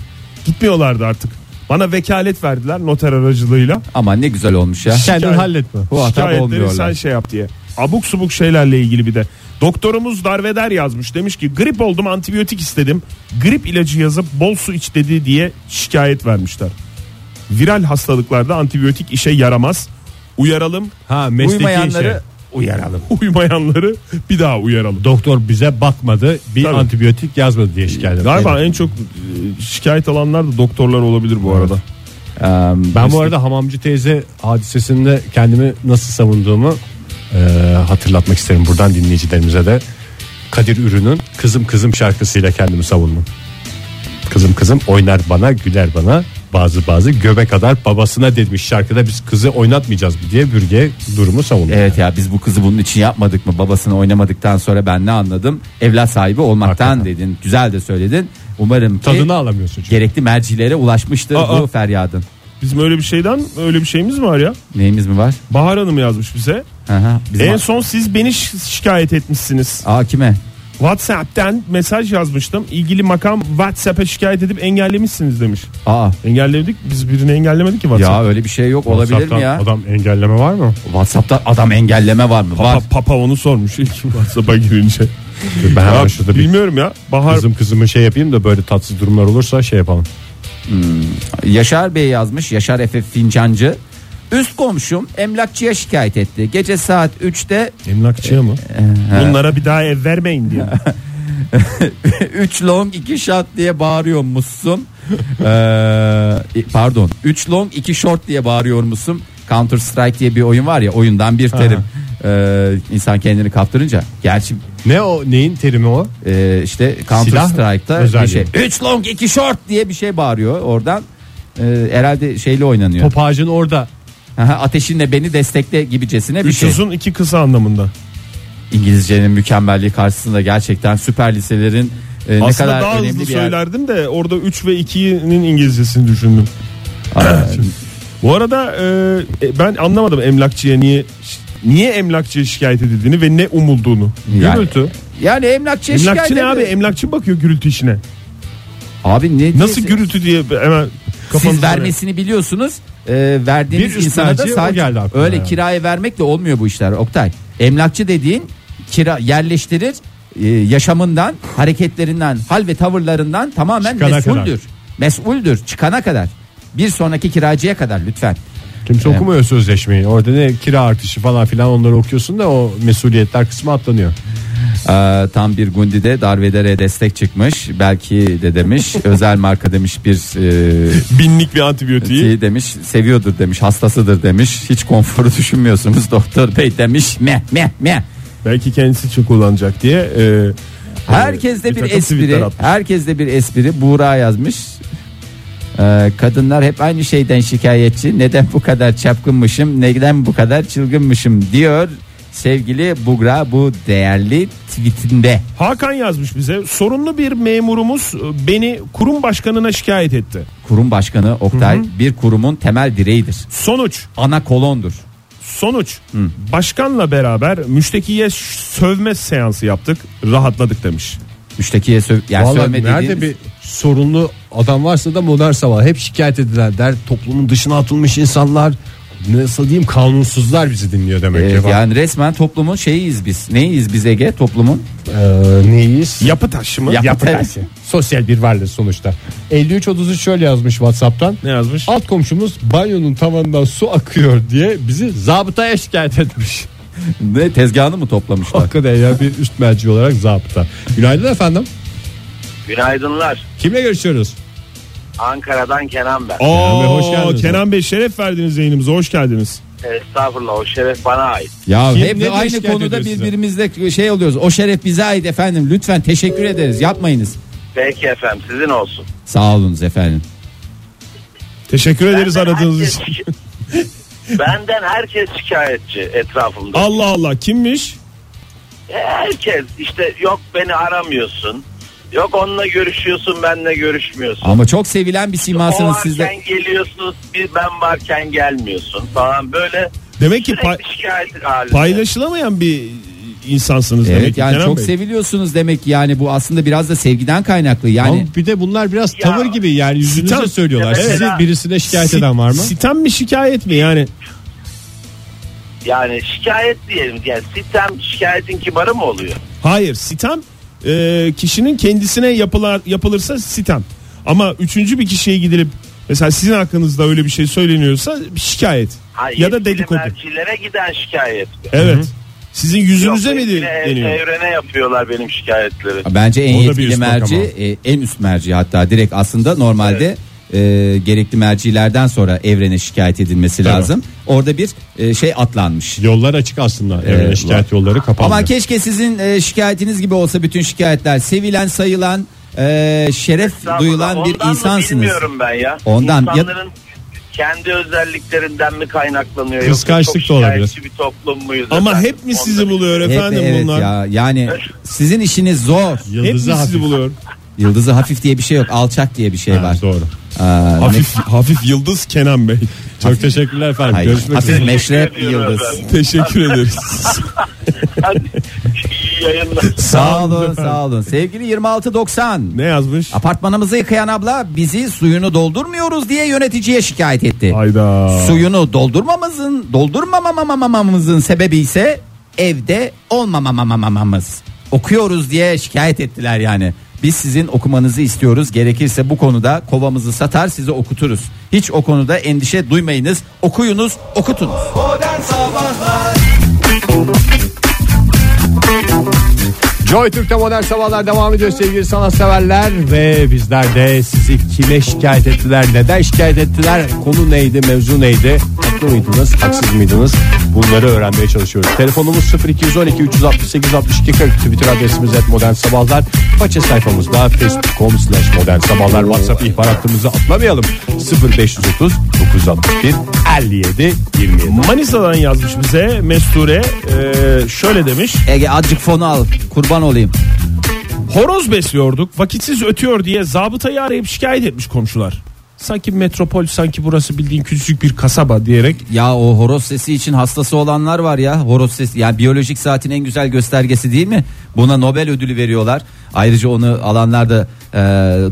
[SPEAKER 4] gitmiyorlardı artık. Bana vekalet verdiler noter aracılığıyla.
[SPEAKER 3] Aman ne güzel olmuş ya.
[SPEAKER 2] Kendin halletme.
[SPEAKER 3] Bu hata
[SPEAKER 4] Şikayetleri
[SPEAKER 3] olmuyorlar.
[SPEAKER 4] sen şey yap diye. Abuk subuk şeylerle ilgili bir de. Doktorumuz darveder yazmış. Demiş ki grip oldum antibiyotik istedim. Grip ilacı yazıp bol su iç dedi diye şikayet vermişler. Viral hastalıklarda antibiyotik işe yaramaz. Uyaralım.
[SPEAKER 2] Ha şey. mesleki
[SPEAKER 3] Uymayanları
[SPEAKER 4] şey.
[SPEAKER 2] işe. uyaralım.
[SPEAKER 4] Uymayanları bir daha uyaralım.
[SPEAKER 2] Doktor bize bakmadı bir
[SPEAKER 4] Tabii.
[SPEAKER 2] antibiyotik yazmadı diye şikayet eder.
[SPEAKER 4] Galiba en çok e, şikayet alanlar da doktorlar olabilir bu arada.
[SPEAKER 3] Eee,
[SPEAKER 2] Ben bu arada hamamcı teyze hadisesinde kendimi nasıl savunduğumu e, hatırlatmak isterim buradan dinleyicilerimize de. Kadir Ürün'ün Kızım Kızım şarkısıyla kendimi savundum. Kızım kızım oynar bana güler bana bazı bazı göbe kadar babasına demiş şarkıda biz kızı oynatmayacağız diye bürge durumu savundu.
[SPEAKER 4] E-
[SPEAKER 3] Evet ya biz bu kızı bunun için yapmadık mı? Babasını oynamadıktan sonra ben ne anladım? Evlat sahibi olmaktan
[SPEAKER 2] Hakikaten.
[SPEAKER 3] dedin. Güzel de söyledin. Umarım ki
[SPEAKER 2] Tadını alamıyorsun çünkü.
[SPEAKER 3] gerekli mercilere ulaşmıştır
[SPEAKER 4] Aa.
[SPEAKER 3] bu feryadın.
[SPEAKER 4] Bizim öyle bir şeyden öyle bir şeyimiz mi var ya?
[SPEAKER 3] Neyimiz mi var?
[SPEAKER 4] Bahar Hanım yazmış bize.
[SPEAKER 3] Aha, bizim
[SPEAKER 4] En son siz beni şi- şikayet etmişsiniz.
[SPEAKER 3] Aa kime?
[SPEAKER 4] WhatsApp'ten mesaj yazmıştım. İlgili makam WhatsApp'a şikayet edip engellemişsiniz demiş.
[SPEAKER 3] Aa
[SPEAKER 4] Engelledik. Biz birini engellemedik ki WhatsApp.
[SPEAKER 3] ya öyle bir şey yok olabilir mi
[SPEAKER 2] WhatsApp'tan
[SPEAKER 3] ya?
[SPEAKER 2] Adam engelleme var mı?
[SPEAKER 3] WhatsApp'ta adam engelleme var mı?
[SPEAKER 4] Papa,
[SPEAKER 3] Var.
[SPEAKER 4] papa onu sormuş ilk WhatsApp'a girince.
[SPEAKER 2] Ben hemen
[SPEAKER 4] Ya,
[SPEAKER 2] şurada bir
[SPEAKER 4] bilmiyorum ya. Bahar
[SPEAKER 2] kızım kızımı şey yapayım da böyle tatsız durumlar olursa şey yapalım.
[SPEAKER 3] Yaşar Bey yazmış. Yaşar Efe Fincancı. Üst komşum emlakçıya şikayet etti. Gece saat *laughs* 3'te
[SPEAKER 2] Emlakçıya mı?
[SPEAKER 4] şey
[SPEAKER 3] Ee,
[SPEAKER 4] bunlara bir daha ev vermeyin diye.
[SPEAKER 3] 3 long 2 short diye bağırıyormuşsun. *laughs* Ee, pardon. 3 long 2 short diye bağırıyormuşsun. Counter Strike diye bir oyun var ya oyundan bir terim. Ee, insan kendini kaptırınca. Gerçi
[SPEAKER 2] Ne o neyin terimi o?
[SPEAKER 3] e, işte Counter
[SPEAKER 2] Silah
[SPEAKER 3] Strike'ta bir
[SPEAKER 2] özelliği.
[SPEAKER 3] şey. 3 long 2 short diye bir şey bağırıyor oradan. Ee, herhalde şeyle oynanıyor.
[SPEAKER 2] Top ağacın orada
[SPEAKER 3] Aha, ateşinle beni destekle gibicesine bir
[SPEAKER 4] Üç
[SPEAKER 3] şey.
[SPEAKER 4] uzun iki kısa anlamında.
[SPEAKER 3] İngilizcenin mükemmelliği karşısında gerçekten süper liselerin e, ne
[SPEAKER 4] Aslında
[SPEAKER 3] kadar
[SPEAKER 4] daha
[SPEAKER 3] önemli
[SPEAKER 4] hızlı
[SPEAKER 3] bir yer.
[SPEAKER 4] söylerdim de orada 3 ve 2'nin İngilizcesini düşündüm.
[SPEAKER 3] Aa,
[SPEAKER 4] Bu arada e, e, ben anlamadım emlakçıya niye niye emlakçıya şikayet edildiğini ve ne umulduğunu.
[SPEAKER 3] Yani-
[SPEAKER 4] Gürültü.
[SPEAKER 3] Yani emlakçıya şikayet
[SPEAKER 4] Emlakçı ne abi?
[SPEAKER 3] ediyor.
[SPEAKER 4] Emlakçı bakıyor gürültü işine.
[SPEAKER 3] Abi ne
[SPEAKER 4] Nasıl
[SPEAKER 3] diyorsun?
[SPEAKER 4] gürültü diye hemen kafanızı
[SPEAKER 3] Siz vermesini biliyorsunuz. Ee, verdiğiniz
[SPEAKER 2] Bir üst
[SPEAKER 3] insana da
[SPEAKER 2] merci o
[SPEAKER 3] sadece
[SPEAKER 2] geldi aklıma
[SPEAKER 3] öyle
[SPEAKER 2] yani.
[SPEAKER 3] kiraya vermekle olmuyor bu işler Oktay. Emlakçı dediğin kira yerleştirir e, yaşamından, hareketlerinden, hal ve tavırlarından tamamen
[SPEAKER 2] Çıkana
[SPEAKER 3] mesuldür.
[SPEAKER 2] kadar.
[SPEAKER 3] Mesuldür çıkana kadar. Bir sonraki kiracıya kadar lütfen.
[SPEAKER 2] Kimse
[SPEAKER 3] Evet.
[SPEAKER 2] okumuyor sözleşmeyi. Orada ne kira artışı falan filan onları okuyorsun da o mesuliyetler kısmı atlanıyor.
[SPEAKER 3] Ee, tam bir Gundi'de Darveder'e destek çıkmış. Belki de
[SPEAKER 2] *laughs*
[SPEAKER 3] demiş özel marka demiş bir e,
[SPEAKER 4] Binlik bir antibiyotiği.
[SPEAKER 3] Şey demiş seviyordur demiş hastasıdır demiş hiç konforu düşünmüyorsunuz doktor bey demiş meh meh meh.
[SPEAKER 4] Belki kendisi için kullanacak diye. E,
[SPEAKER 3] Herkeste
[SPEAKER 4] Bir
[SPEAKER 3] bir,
[SPEAKER 4] takım tweetler
[SPEAKER 3] espri
[SPEAKER 4] atmış.
[SPEAKER 3] herkeste bir espri Buğra yazmış. Ee, kadınlar hep aynı şeyden şikayetçi neden bu kadar çapkınmışım neden bu kadar çılgınmışım diyor sevgili Bugra bu değerli tweetinde.
[SPEAKER 4] Hakan yazmış bize. Sorunlu bir memurumuz e, beni kurum başkanına şikayet etti.
[SPEAKER 3] Kurum başkanı Oktay bir kurumun temel direğidir.
[SPEAKER 4] Sonuç
[SPEAKER 3] Ana kolondur.
[SPEAKER 4] Sonuç başkanla beraber müştekiye ş- sövme seansı yaptık rahatladık demiş.
[SPEAKER 3] Müştekiye söv yani
[SPEAKER 2] Vallahi
[SPEAKER 3] sövme
[SPEAKER 2] nerede
[SPEAKER 3] dediğiniz-
[SPEAKER 2] bir sorunlu adam varsa da modern sabah hep şikayet edilen der. Toplumun dışına atılmış insanlar nasıl diyeyim kanunsuzlar bizi dinliyor demek
[SPEAKER 3] Evet,
[SPEAKER 2] ki. Bak,
[SPEAKER 3] Ee, yani resmen toplumun şeyiyiz biz. Neyiz biz Ege toplumun?
[SPEAKER 2] eee, Ee, neyiz?
[SPEAKER 4] Yapı taşı mı?
[SPEAKER 3] Yapı
[SPEAKER 4] Yapı
[SPEAKER 3] taşı.
[SPEAKER 4] taşı.
[SPEAKER 2] Sosyal bir varlık sonuçta. 5333 şöyle yazmış Whatsapp'tan.
[SPEAKER 4] Ne yazmış?
[SPEAKER 2] Alt komşumuz banyonun tavanından su akıyor diye bizi zabıtaya şikayet etmiş.
[SPEAKER 3] Ne tezgahını mı toplamışlar?
[SPEAKER 2] Hakikaten ya bir üst merci olarak zabıta. Günaydın efendim.
[SPEAKER 1] Günaydınlar.
[SPEAKER 2] Kimle görüşüyoruz?
[SPEAKER 1] Ankara'dan Kenan ben.
[SPEAKER 4] Oo,
[SPEAKER 2] Kenan Bey, hoş geldiniz.
[SPEAKER 4] Kenan Bey şeref verdiniz yayınımıza hoş geldiniz.
[SPEAKER 1] Estağfurullah o şeref bana ait.
[SPEAKER 3] ya
[SPEAKER 2] Kim
[SPEAKER 3] hep
[SPEAKER 2] ne
[SPEAKER 3] de aynı
[SPEAKER 2] şikayet
[SPEAKER 3] konuda
[SPEAKER 2] ediyor size?
[SPEAKER 3] birbirimizle şey oluyoruz. O şeref bize ait efendim. Lütfen teşekkür ederiz. Yapmayınız.
[SPEAKER 1] Peki efendim sizin olsun.
[SPEAKER 3] Sağ olunuz efendim.
[SPEAKER 4] Teşekkür ederiz aradığınız için.
[SPEAKER 1] herkes- *laughs* Benden herkes şikayetçi etrafımda.
[SPEAKER 4] Allah Allah kimmiş?
[SPEAKER 1] Herkes işte yok beni aramıyorsun. Yok onunla görüşüyorsun benle görüşmüyorsun.
[SPEAKER 3] Ama çok sevilen bir
[SPEAKER 1] o
[SPEAKER 3] simasınız
[SPEAKER 1] varken
[SPEAKER 3] sizde.
[SPEAKER 1] geliyorsun bir ben varken gelmiyorsun falan böyle
[SPEAKER 4] Demek ki
[SPEAKER 1] sürekli
[SPEAKER 4] pay-
[SPEAKER 1] şikayet halinde.
[SPEAKER 4] paylaşılamayan bir insansınız demek
[SPEAKER 3] Evet
[SPEAKER 4] ki
[SPEAKER 3] yani
[SPEAKER 4] Kenan
[SPEAKER 3] çok
[SPEAKER 4] Bey.
[SPEAKER 3] seviliyorsunuz demek ki yani bu aslında biraz da sevgiden kaynaklı. Yani
[SPEAKER 2] Ama bir de bunlar biraz
[SPEAKER 1] Ya.
[SPEAKER 2] tavır gibi yani yüzünüze
[SPEAKER 4] Sitem.
[SPEAKER 2] söylüyorlar.
[SPEAKER 1] Evet.
[SPEAKER 2] Sizi birisine şikayet
[SPEAKER 4] Si-
[SPEAKER 2] eden var mı?
[SPEAKER 4] Sitem mi şikayet mi yani?
[SPEAKER 1] Yani şikayet diyelim yani sistem şikayetin kibarı mı oluyor?
[SPEAKER 4] Hayır sitem e, kişinin kendisine yapılar, yapılırsa sitem. Ama üçüncü bir kişiye gidilip mesela sizin hakkınızda öyle bir şey söyleniyorsa şikayet.
[SPEAKER 1] Hayır,
[SPEAKER 4] ya da
[SPEAKER 1] yetkili
[SPEAKER 4] dedikodu.
[SPEAKER 1] mercilere giden şikayet mi?
[SPEAKER 4] Evet. Sizin yüzünüze
[SPEAKER 1] Yok,
[SPEAKER 4] mi
[SPEAKER 1] hepsine
[SPEAKER 4] de- deniyor?
[SPEAKER 1] Evrene yapıyorlar benim şikayetleri.
[SPEAKER 3] Bence en
[SPEAKER 4] O da bir
[SPEAKER 3] yetkili
[SPEAKER 4] üst makam
[SPEAKER 3] merci
[SPEAKER 4] ama.
[SPEAKER 3] e, en üst merci hatta direkt aslında normalde e, gerekli mercilerden sonra evrene şikayet edilmesi lazım. Orada bir e, şey atlanmış.
[SPEAKER 2] Yollar açık aslında. Evrene
[SPEAKER 3] Evet,
[SPEAKER 2] şikayet yolları kapanmıyor.
[SPEAKER 3] Ama keşke sizin e, şikayetiniz gibi olsa bütün şikayetler sevilen sayılan e, şeref duyulan bir
[SPEAKER 1] Ondan mı
[SPEAKER 3] insansınız.
[SPEAKER 1] Bilmiyorum ben ya.
[SPEAKER 3] Ondan-
[SPEAKER 1] İnsanların kendi özelliklerinden mi kaynaklanıyor? yoksa
[SPEAKER 2] Kıskançlık
[SPEAKER 1] çok
[SPEAKER 2] da olabilir.
[SPEAKER 1] şikayetçi bir toplum muyuz?
[SPEAKER 4] Ama
[SPEAKER 1] efendim?
[SPEAKER 4] hep mi
[SPEAKER 1] Onda
[SPEAKER 4] sizi
[SPEAKER 1] bir-
[SPEAKER 4] buluyor
[SPEAKER 3] Hep,
[SPEAKER 4] efendim
[SPEAKER 3] evet
[SPEAKER 4] bunlar?
[SPEAKER 3] ya yani sizin işiniz zor.
[SPEAKER 4] Hep mi
[SPEAKER 2] Yıldızı hafif.
[SPEAKER 4] sizi buluyor?
[SPEAKER 3] Yıldızı hafif diye bir şey yok, alçak diye bir şey
[SPEAKER 2] Ha,
[SPEAKER 3] var.
[SPEAKER 2] Doğru.
[SPEAKER 3] Aa,
[SPEAKER 4] hafif hafif yıldız Kenan Bey.
[SPEAKER 2] Çok teşekkürler efendim.
[SPEAKER 3] hayır,
[SPEAKER 2] Görüşmek
[SPEAKER 3] hafif
[SPEAKER 2] üzere.
[SPEAKER 3] meşrep
[SPEAKER 1] Teşekkür ediyorum
[SPEAKER 3] yıldız.
[SPEAKER 1] efendim.
[SPEAKER 4] Teşekkür ederiz.
[SPEAKER 1] Hadi, iyi yayınlar.
[SPEAKER 3] Sağ olun, sağ olun. Sevgili 2690.
[SPEAKER 4] ne yazmış?
[SPEAKER 3] Apartmanımızı yıkayan abla bizi suyunu doldurmuyoruz diye yöneticiye şikayet etti.
[SPEAKER 4] Hayda.
[SPEAKER 3] Suyunu doldurmamızın doldurmamamamamamızın sebebi ise evde olmamamamamamamız. Okuyoruz diye şikayet ettiler yani. Biz sizin okumanızı istiyoruz. Gerekirse bu konuda kovamızı satar size okuturuz. Hiç o konuda endişe duymayınız. Okuyunuz, okutunuz.
[SPEAKER 2] Joy Türk'te modern sabahlar devam ediyor sevgili sanatseverler ve bizler de sizi kime şikayet ettiler neden şikayet ettiler konu neydi mevzu neydi haklı mıydınız haksız mıydınız bunları öğrenmeye çalışıyoruz. Telefonumuz 0212 368 62 40 Twitter adresimiz et modern sabahlar faça sayfamızda facebook.com slash modern sabahlar whatsapp ihbar hattımızı atlamayalım 0530 961 57 27
[SPEAKER 4] Manisa'dan yazmış bize Mesture e, şöyle demiş.
[SPEAKER 3] Ege azıcık fonu al. Kurban olayım.
[SPEAKER 4] Horoz besliyorduk vakitsiz ötüyor diye zabıtayı arayıp şikayet etmiş komşular. Sanki metropol sanki burası bildiğin küçücük bir kasaba diyerek
[SPEAKER 3] Ya o horoz sesi için hastası olanlar var ya. Horoz sesi yani biyolojik saatin en güzel göstergesi değil mi? Buna Nobel ödülü veriyorlar. Ayrıca onu alanlar da e,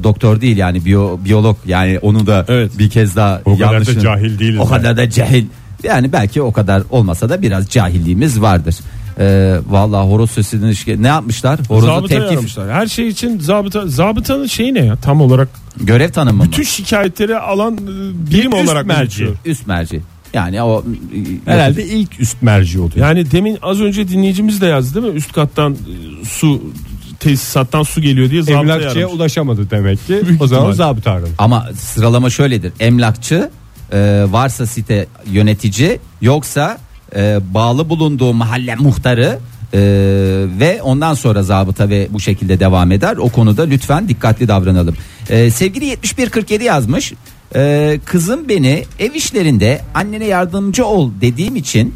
[SPEAKER 3] doktor değil yani biyo, biyolog yani onu da
[SPEAKER 4] Evet.
[SPEAKER 3] bir kez daha
[SPEAKER 2] O kadar da
[SPEAKER 3] yanlışın-
[SPEAKER 2] cahil değiliz
[SPEAKER 3] O kadar da cahil. Yani belki o kadar olmasa da biraz cahilliğimiz vardır. E, vallahi horoz sesini şike- ne yapmışlar? Horozu
[SPEAKER 4] zabıtayı
[SPEAKER 3] tepki
[SPEAKER 4] aramışlar. Her şey için zabıta zabıtanın şeyi ne ya tam olarak?
[SPEAKER 3] görev tanımı mı?
[SPEAKER 4] Tüm şikayetleri alan e, birim
[SPEAKER 2] üst
[SPEAKER 4] olarak
[SPEAKER 2] merci.
[SPEAKER 4] geçiyor.
[SPEAKER 3] Üst merci. Yani o e,
[SPEAKER 2] Herhalde ilk üst merci oluyor.
[SPEAKER 4] Yani demin az önce dinleyicimiz de yazdı değil mi? Üst kattan e, su tesisattan su geliyor diye zabıtayı
[SPEAKER 2] Emlakçıya
[SPEAKER 4] aramış.
[SPEAKER 2] ulaşamadı demek ki.
[SPEAKER 4] Büyük
[SPEAKER 2] o zaman
[SPEAKER 4] ihtimal.
[SPEAKER 2] zabıta aramış.
[SPEAKER 3] Ama sıralama şöyledir. Emlakçı e, varsa site yönetici yoksa e, bağlı bulunduğu mahalle muhtarı e, ve ondan sonra zabıta ve bu şekilde devam eder. O konuda lütfen dikkatli davranalım. E, sevgili 7147 yazmış. E, kızım beni ev işlerinde annene yardımcı ol dediğim için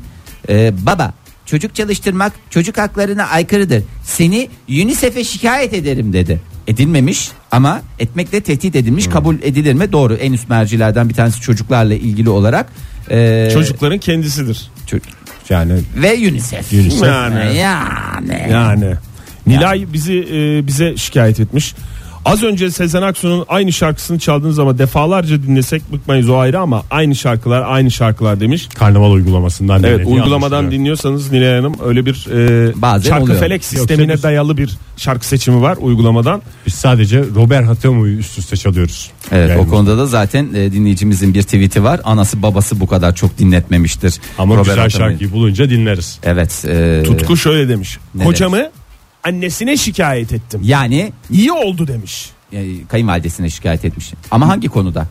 [SPEAKER 3] e, baba çocuk çalıştırmak çocuk haklarına aykırıdır. Seni UNICEF'e şikayet ederim dedi. Edilmemiş ama etmekle tehdit edilmiş kabul edilir mi? Doğru en üst mercilerden bir tanesi çocuklarla ilgili olarak. e,
[SPEAKER 4] Çocukların kendisidir.
[SPEAKER 3] çocuk-
[SPEAKER 2] Yani
[SPEAKER 3] Ve UNICEF.
[SPEAKER 2] UNICEF.
[SPEAKER 4] Yani.
[SPEAKER 3] Yani.
[SPEAKER 4] Yani. Nilay bizi e, bize şikayet etmiş. Az önce Sezen Aksu'nun aynı şarkısını çaldığınız ama defalarca dinlesek bıkmayız o ayrı ama aynı şarkılar aynı şarkılar demiş.
[SPEAKER 2] karnaval uygulamasından
[SPEAKER 4] Evet
[SPEAKER 2] dinlediği
[SPEAKER 4] uygulamadan
[SPEAKER 2] anlaşılıyor.
[SPEAKER 4] dinliyorsanız Nilay Hanım öyle bir e,
[SPEAKER 3] Bazen
[SPEAKER 4] şarkı
[SPEAKER 3] oluyor.
[SPEAKER 4] felek sistemine
[SPEAKER 2] Yoksa biz-
[SPEAKER 4] dayalı bir şarkı seçimi var uygulamadan.
[SPEAKER 2] Biz sadece Robert Hatemo'yu üst üste çalıyoruz.
[SPEAKER 3] Evet
[SPEAKER 2] Yani
[SPEAKER 3] o konuda da zaten e, dinleyicimizin bir tweet'i var. Anası babası bu kadar çok dinletmemiştir.
[SPEAKER 2] Ama
[SPEAKER 3] Robert
[SPEAKER 2] güzel
[SPEAKER 3] Atamay'ın.
[SPEAKER 2] şarkıyı bulunca dinleriz.
[SPEAKER 3] Evet. e,
[SPEAKER 4] Tutku şöyle demiş.
[SPEAKER 3] ne
[SPEAKER 4] Kocamı annesine şikayet ettim.
[SPEAKER 3] Yani
[SPEAKER 4] İyi oldu demiş.
[SPEAKER 3] e, kayınvalidesine şikayet etmiş. Ama hangi konuda?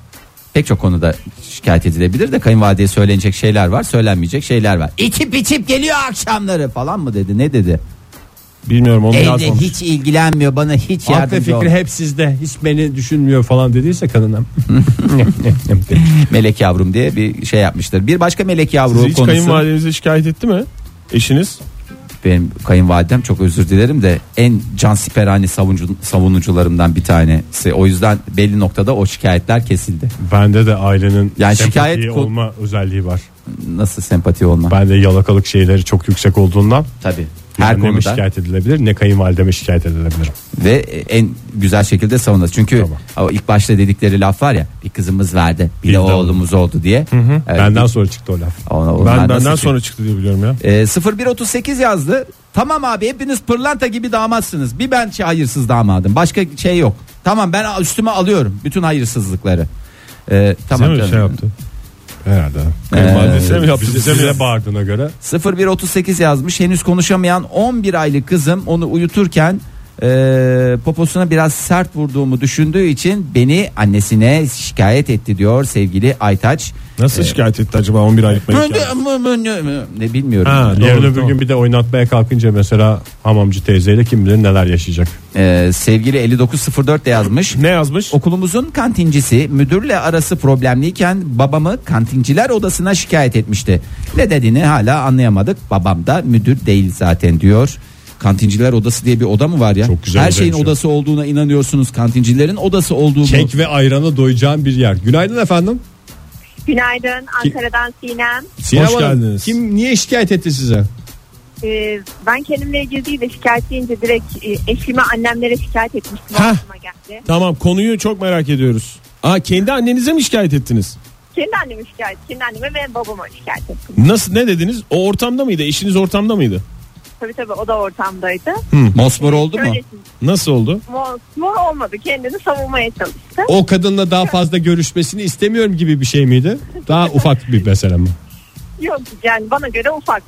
[SPEAKER 3] Pek çok konuda şikayet edilebilir de kayınvalideye söylenecek şeyler var, söylenmeyecek şeyler var. İçip içip geliyor akşamları falan mı dedi? Ne dedi?
[SPEAKER 4] Bilmiyorum onu
[SPEAKER 3] Evde
[SPEAKER 4] yazmamış.
[SPEAKER 3] hiç ilgilenmiyor, bana hiç
[SPEAKER 2] Aklı
[SPEAKER 3] yardımcı
[SPEAKER 2] fikri
[SPEAKER 3] olmuyor.
[SPEAKER 2] hep sizde. Hiç beni düşünmüyor falan dediyse kadınım.
[SPEAKER 3] Melek yavrum diye bir şey yapmıştır. Bir başka melek yavru
[SPEAKER 4] Siz hiç
[SPEAKER 3] konusu.
[SPEAKER 4] kayınvalidenize şikayet etti mi? Eşiniz?
[SPEAKER 3] Benim kayınvalidem çok özür dilerim de en can siperhane savuncu, savunucularımdan bir tanesi. O yüzden belli noktada o şikayetler kesildi.
[SPEAKER 2] Bende de ailenin
[SPEAKER 3] Yani
[SPEAKER 2] yani
[SPEAKER 3] şikayet ko-
[SPEAKER 2] olma özelliği var.
[SPEAKER 3] Nasıl sempati olma.
[SPEAKER 2] Bende yalakalık şeyleri çok yüksek olduğundan
[SPEAKER 3] Tabii.
[SPEAKER 2] ne
[SPEAKER 3] Her
[SPEAKER 2] anneme
[SPEAKER 3] konuda.
[SPEAKER 2] şikayet edilebilir ne kayınvalideme şikayet edilebilirim.
[SPEAKER 3] ve en güzel şekilde savunacağız. Çünkü o ilk başta dedikleri laf var ya bir kızımız vardı bir,
[SPEAKER 2] Bir
[SPEAKER 3] de
[SPEAKER 2] de
[SPEAKER 3] oğlumuz oldu diye. Evet,
[SPEAKER 2] Benden sonra çıktı o laf.
[SPEAKER 3] ona- onlar
[SPEAKER 4] Ben
[SPEAKER 3] nasıl
[SPEAKER 4] benden
[SPEAKER 3] çünkü-
[SPEAKER 4] sonra çıktı diye biliyorum ya.
[SPEAKER 3] Ee, 0138 yazdı. Tamam abi hepiniz pırlanta gibi damatsınız. Bir ben şey hayırsız damadım. Başka şey yok. Tamam ben üstüme alıyorum bütün hayırsızlıkları. Ee, tamam
[SPEAKER 4] Değil mi?
[SPEAKER 3] canım.
[SPEAKER 4] Şey yaptı.
[SPEAKER 2] Şey Herhalde. Ee,
[SPEAKER 4] Kayınvalidesine mi yaptı, bize
[SPEAKER 2] Bize
[SPEAKER 4] mi
[SPEAKER 2] bile bağırdığına göre.
[SPEAKER 3] 0138 yazmış henüz konuşamayan 11 aylık kızım onu uyuturken e, poposuna biraz sert vurduğumu düşündüğü için beni annesine şikayet etti diyor sevgili Aytaç.
[SPEAKER 2] Ee,
[SPEAKER 4] Nasıl şikayet etti acaba 11 aylık
[SPEAKER 3] Mö-
[SPEAKER 4] mekan?
[SPEAKER 3] mö- mö- mö- mö- Ne bilmiyorum.
[SPEAKER 4] Ha, doğru,
[SPEAKER 2] Yarın öbür
[SPEAKER 4] tamam.
[SPEAKER 2] gün bir de oynatmaya kalkınca mesela hamamcı teyzeyle kim bilir neler yaşayacak.
[SPEAKER 3] E, sevgili 5904 de yazmış.
[SPEAKER 4] Ne yazmış?
[SPEAKER 3] Okulumuzun kantincisi müdürle arası problemliyken babamı kantinciler odasına şikayet etmişti. Ne dediğini hala anlayamadık. Babam da müdür değil zaten diyor. Kantinciler odası diye bir oda mı var ya?
[SPEAKER 2] Çok güzel şey.
[SPEAKER 3] Her
[SPEAKER 2] odaymış
[SPEAKER 3] şeyin
[SPEAKER 2] ya.
[SPEAKER 3] odası olduğuna inanıyorsunuz. Kantincilerin odası olduğu mu?
[SPEAKER 2] Kek ve ayrana doyacağın bir yer. Günaydın efendim.
[SPEAKER 5] Günaydın Ankara'dan Sinem.
[SPEAKER 2] Sinem
[SPEAKER 4] Hoş
[SPEAKER 2] Hanım,
[SPEAKER 4] geldiniz.
[SPEAKER 2] Kim niye şikayet etti size?
[SPEAKER 5] Ee, ben kendimle ilgili değil de şikayet deyince direkt e, eşime annemlere şikayet etmiştim.
[SPEAKER 4] Hah.
[SPEAKER 5] Aklıma geldi.
[SPEAKER 4] Tamam konuyu çok merak ediyoruz. Aa kendi annenize mi şikayet ettiniz?
[SPEAKER 5] Kendi anneme şikayet, kendi anneme ve babama şikayet ettim.
[SPEAKER 4] Nasıl ne dediniz? O ortamda mıydı? Eşiniz ortamda mıydı?
[SPEAKER 5] Tabii tabii o da ortamdaydı.
[SPEAKER 3] Mosmor oldu mu?
[SPEAKER 5] Öyle
[SPEAKER 4] Nasıl oldu?
[SPEAKER 5] mor, mor olmadı kendini savunmaya çalıştı.
[SPEAKER 2] O kadınla daha fazla görüşmesini istemiyorum gibi bir şey miydi? Daha ufak bir mesele mi?
[SPEAKER 5] Yok yani bana göre ufak.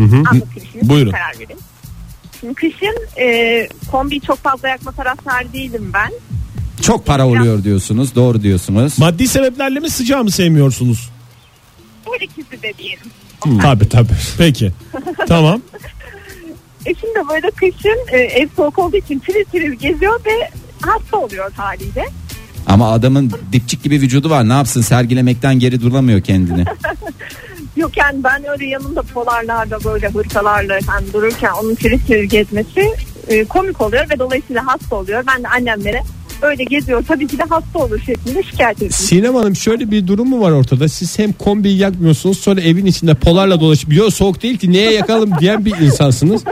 [SPEAKER 5] Anlatayım şimdi
[SPEAKER 4] Buyurun.
[SPEAKER 5] karar verin. Şimdi kışın e, kombiyi çok fazla yakma taraftarı değilim ben.
[SPEAKER 3] Çok para oluyor diyorsunuz. Doğru diyorsunuz.
[SPEAKER 4] Maddi sebeplerle mi sıcağı mı sevmiyorsunuz?
[SPEAKER 5] Her ikisi de diyelim.
[SPEAKER 4] Tabi tabi. Peki. tamam.
[SPEAKER 5] Eşim de böyle kışın e, ev soğuk olduğu için tiril tiril geziyor ve hasta oluyor haliyle.
[SPEAKER 3] Ama adamın dipçik gibi vücudu var. Ne yapsın? Sergilemekten geri duramıyor kendini.
[SPEAKER 5] Yok yani ben öyle yanımda polarlarda böyle hırkalarla yani dururken onun tiril tiril gezmesi e, komik oluyor ve dolayısıyla hasta oluyor. Ben de annemlere öyle geziyor tabii ki de hasta olur şeklinde şikayet ettim.
[SPEAKER 2] Sinem Hanım şöyle bir durum mu var ortada? Siz hem kombiyi yakmıyorsunuz sonra evin içinde polarla dolaşıp yok soğuk değil ki neye yakalım diyen bir insansınız.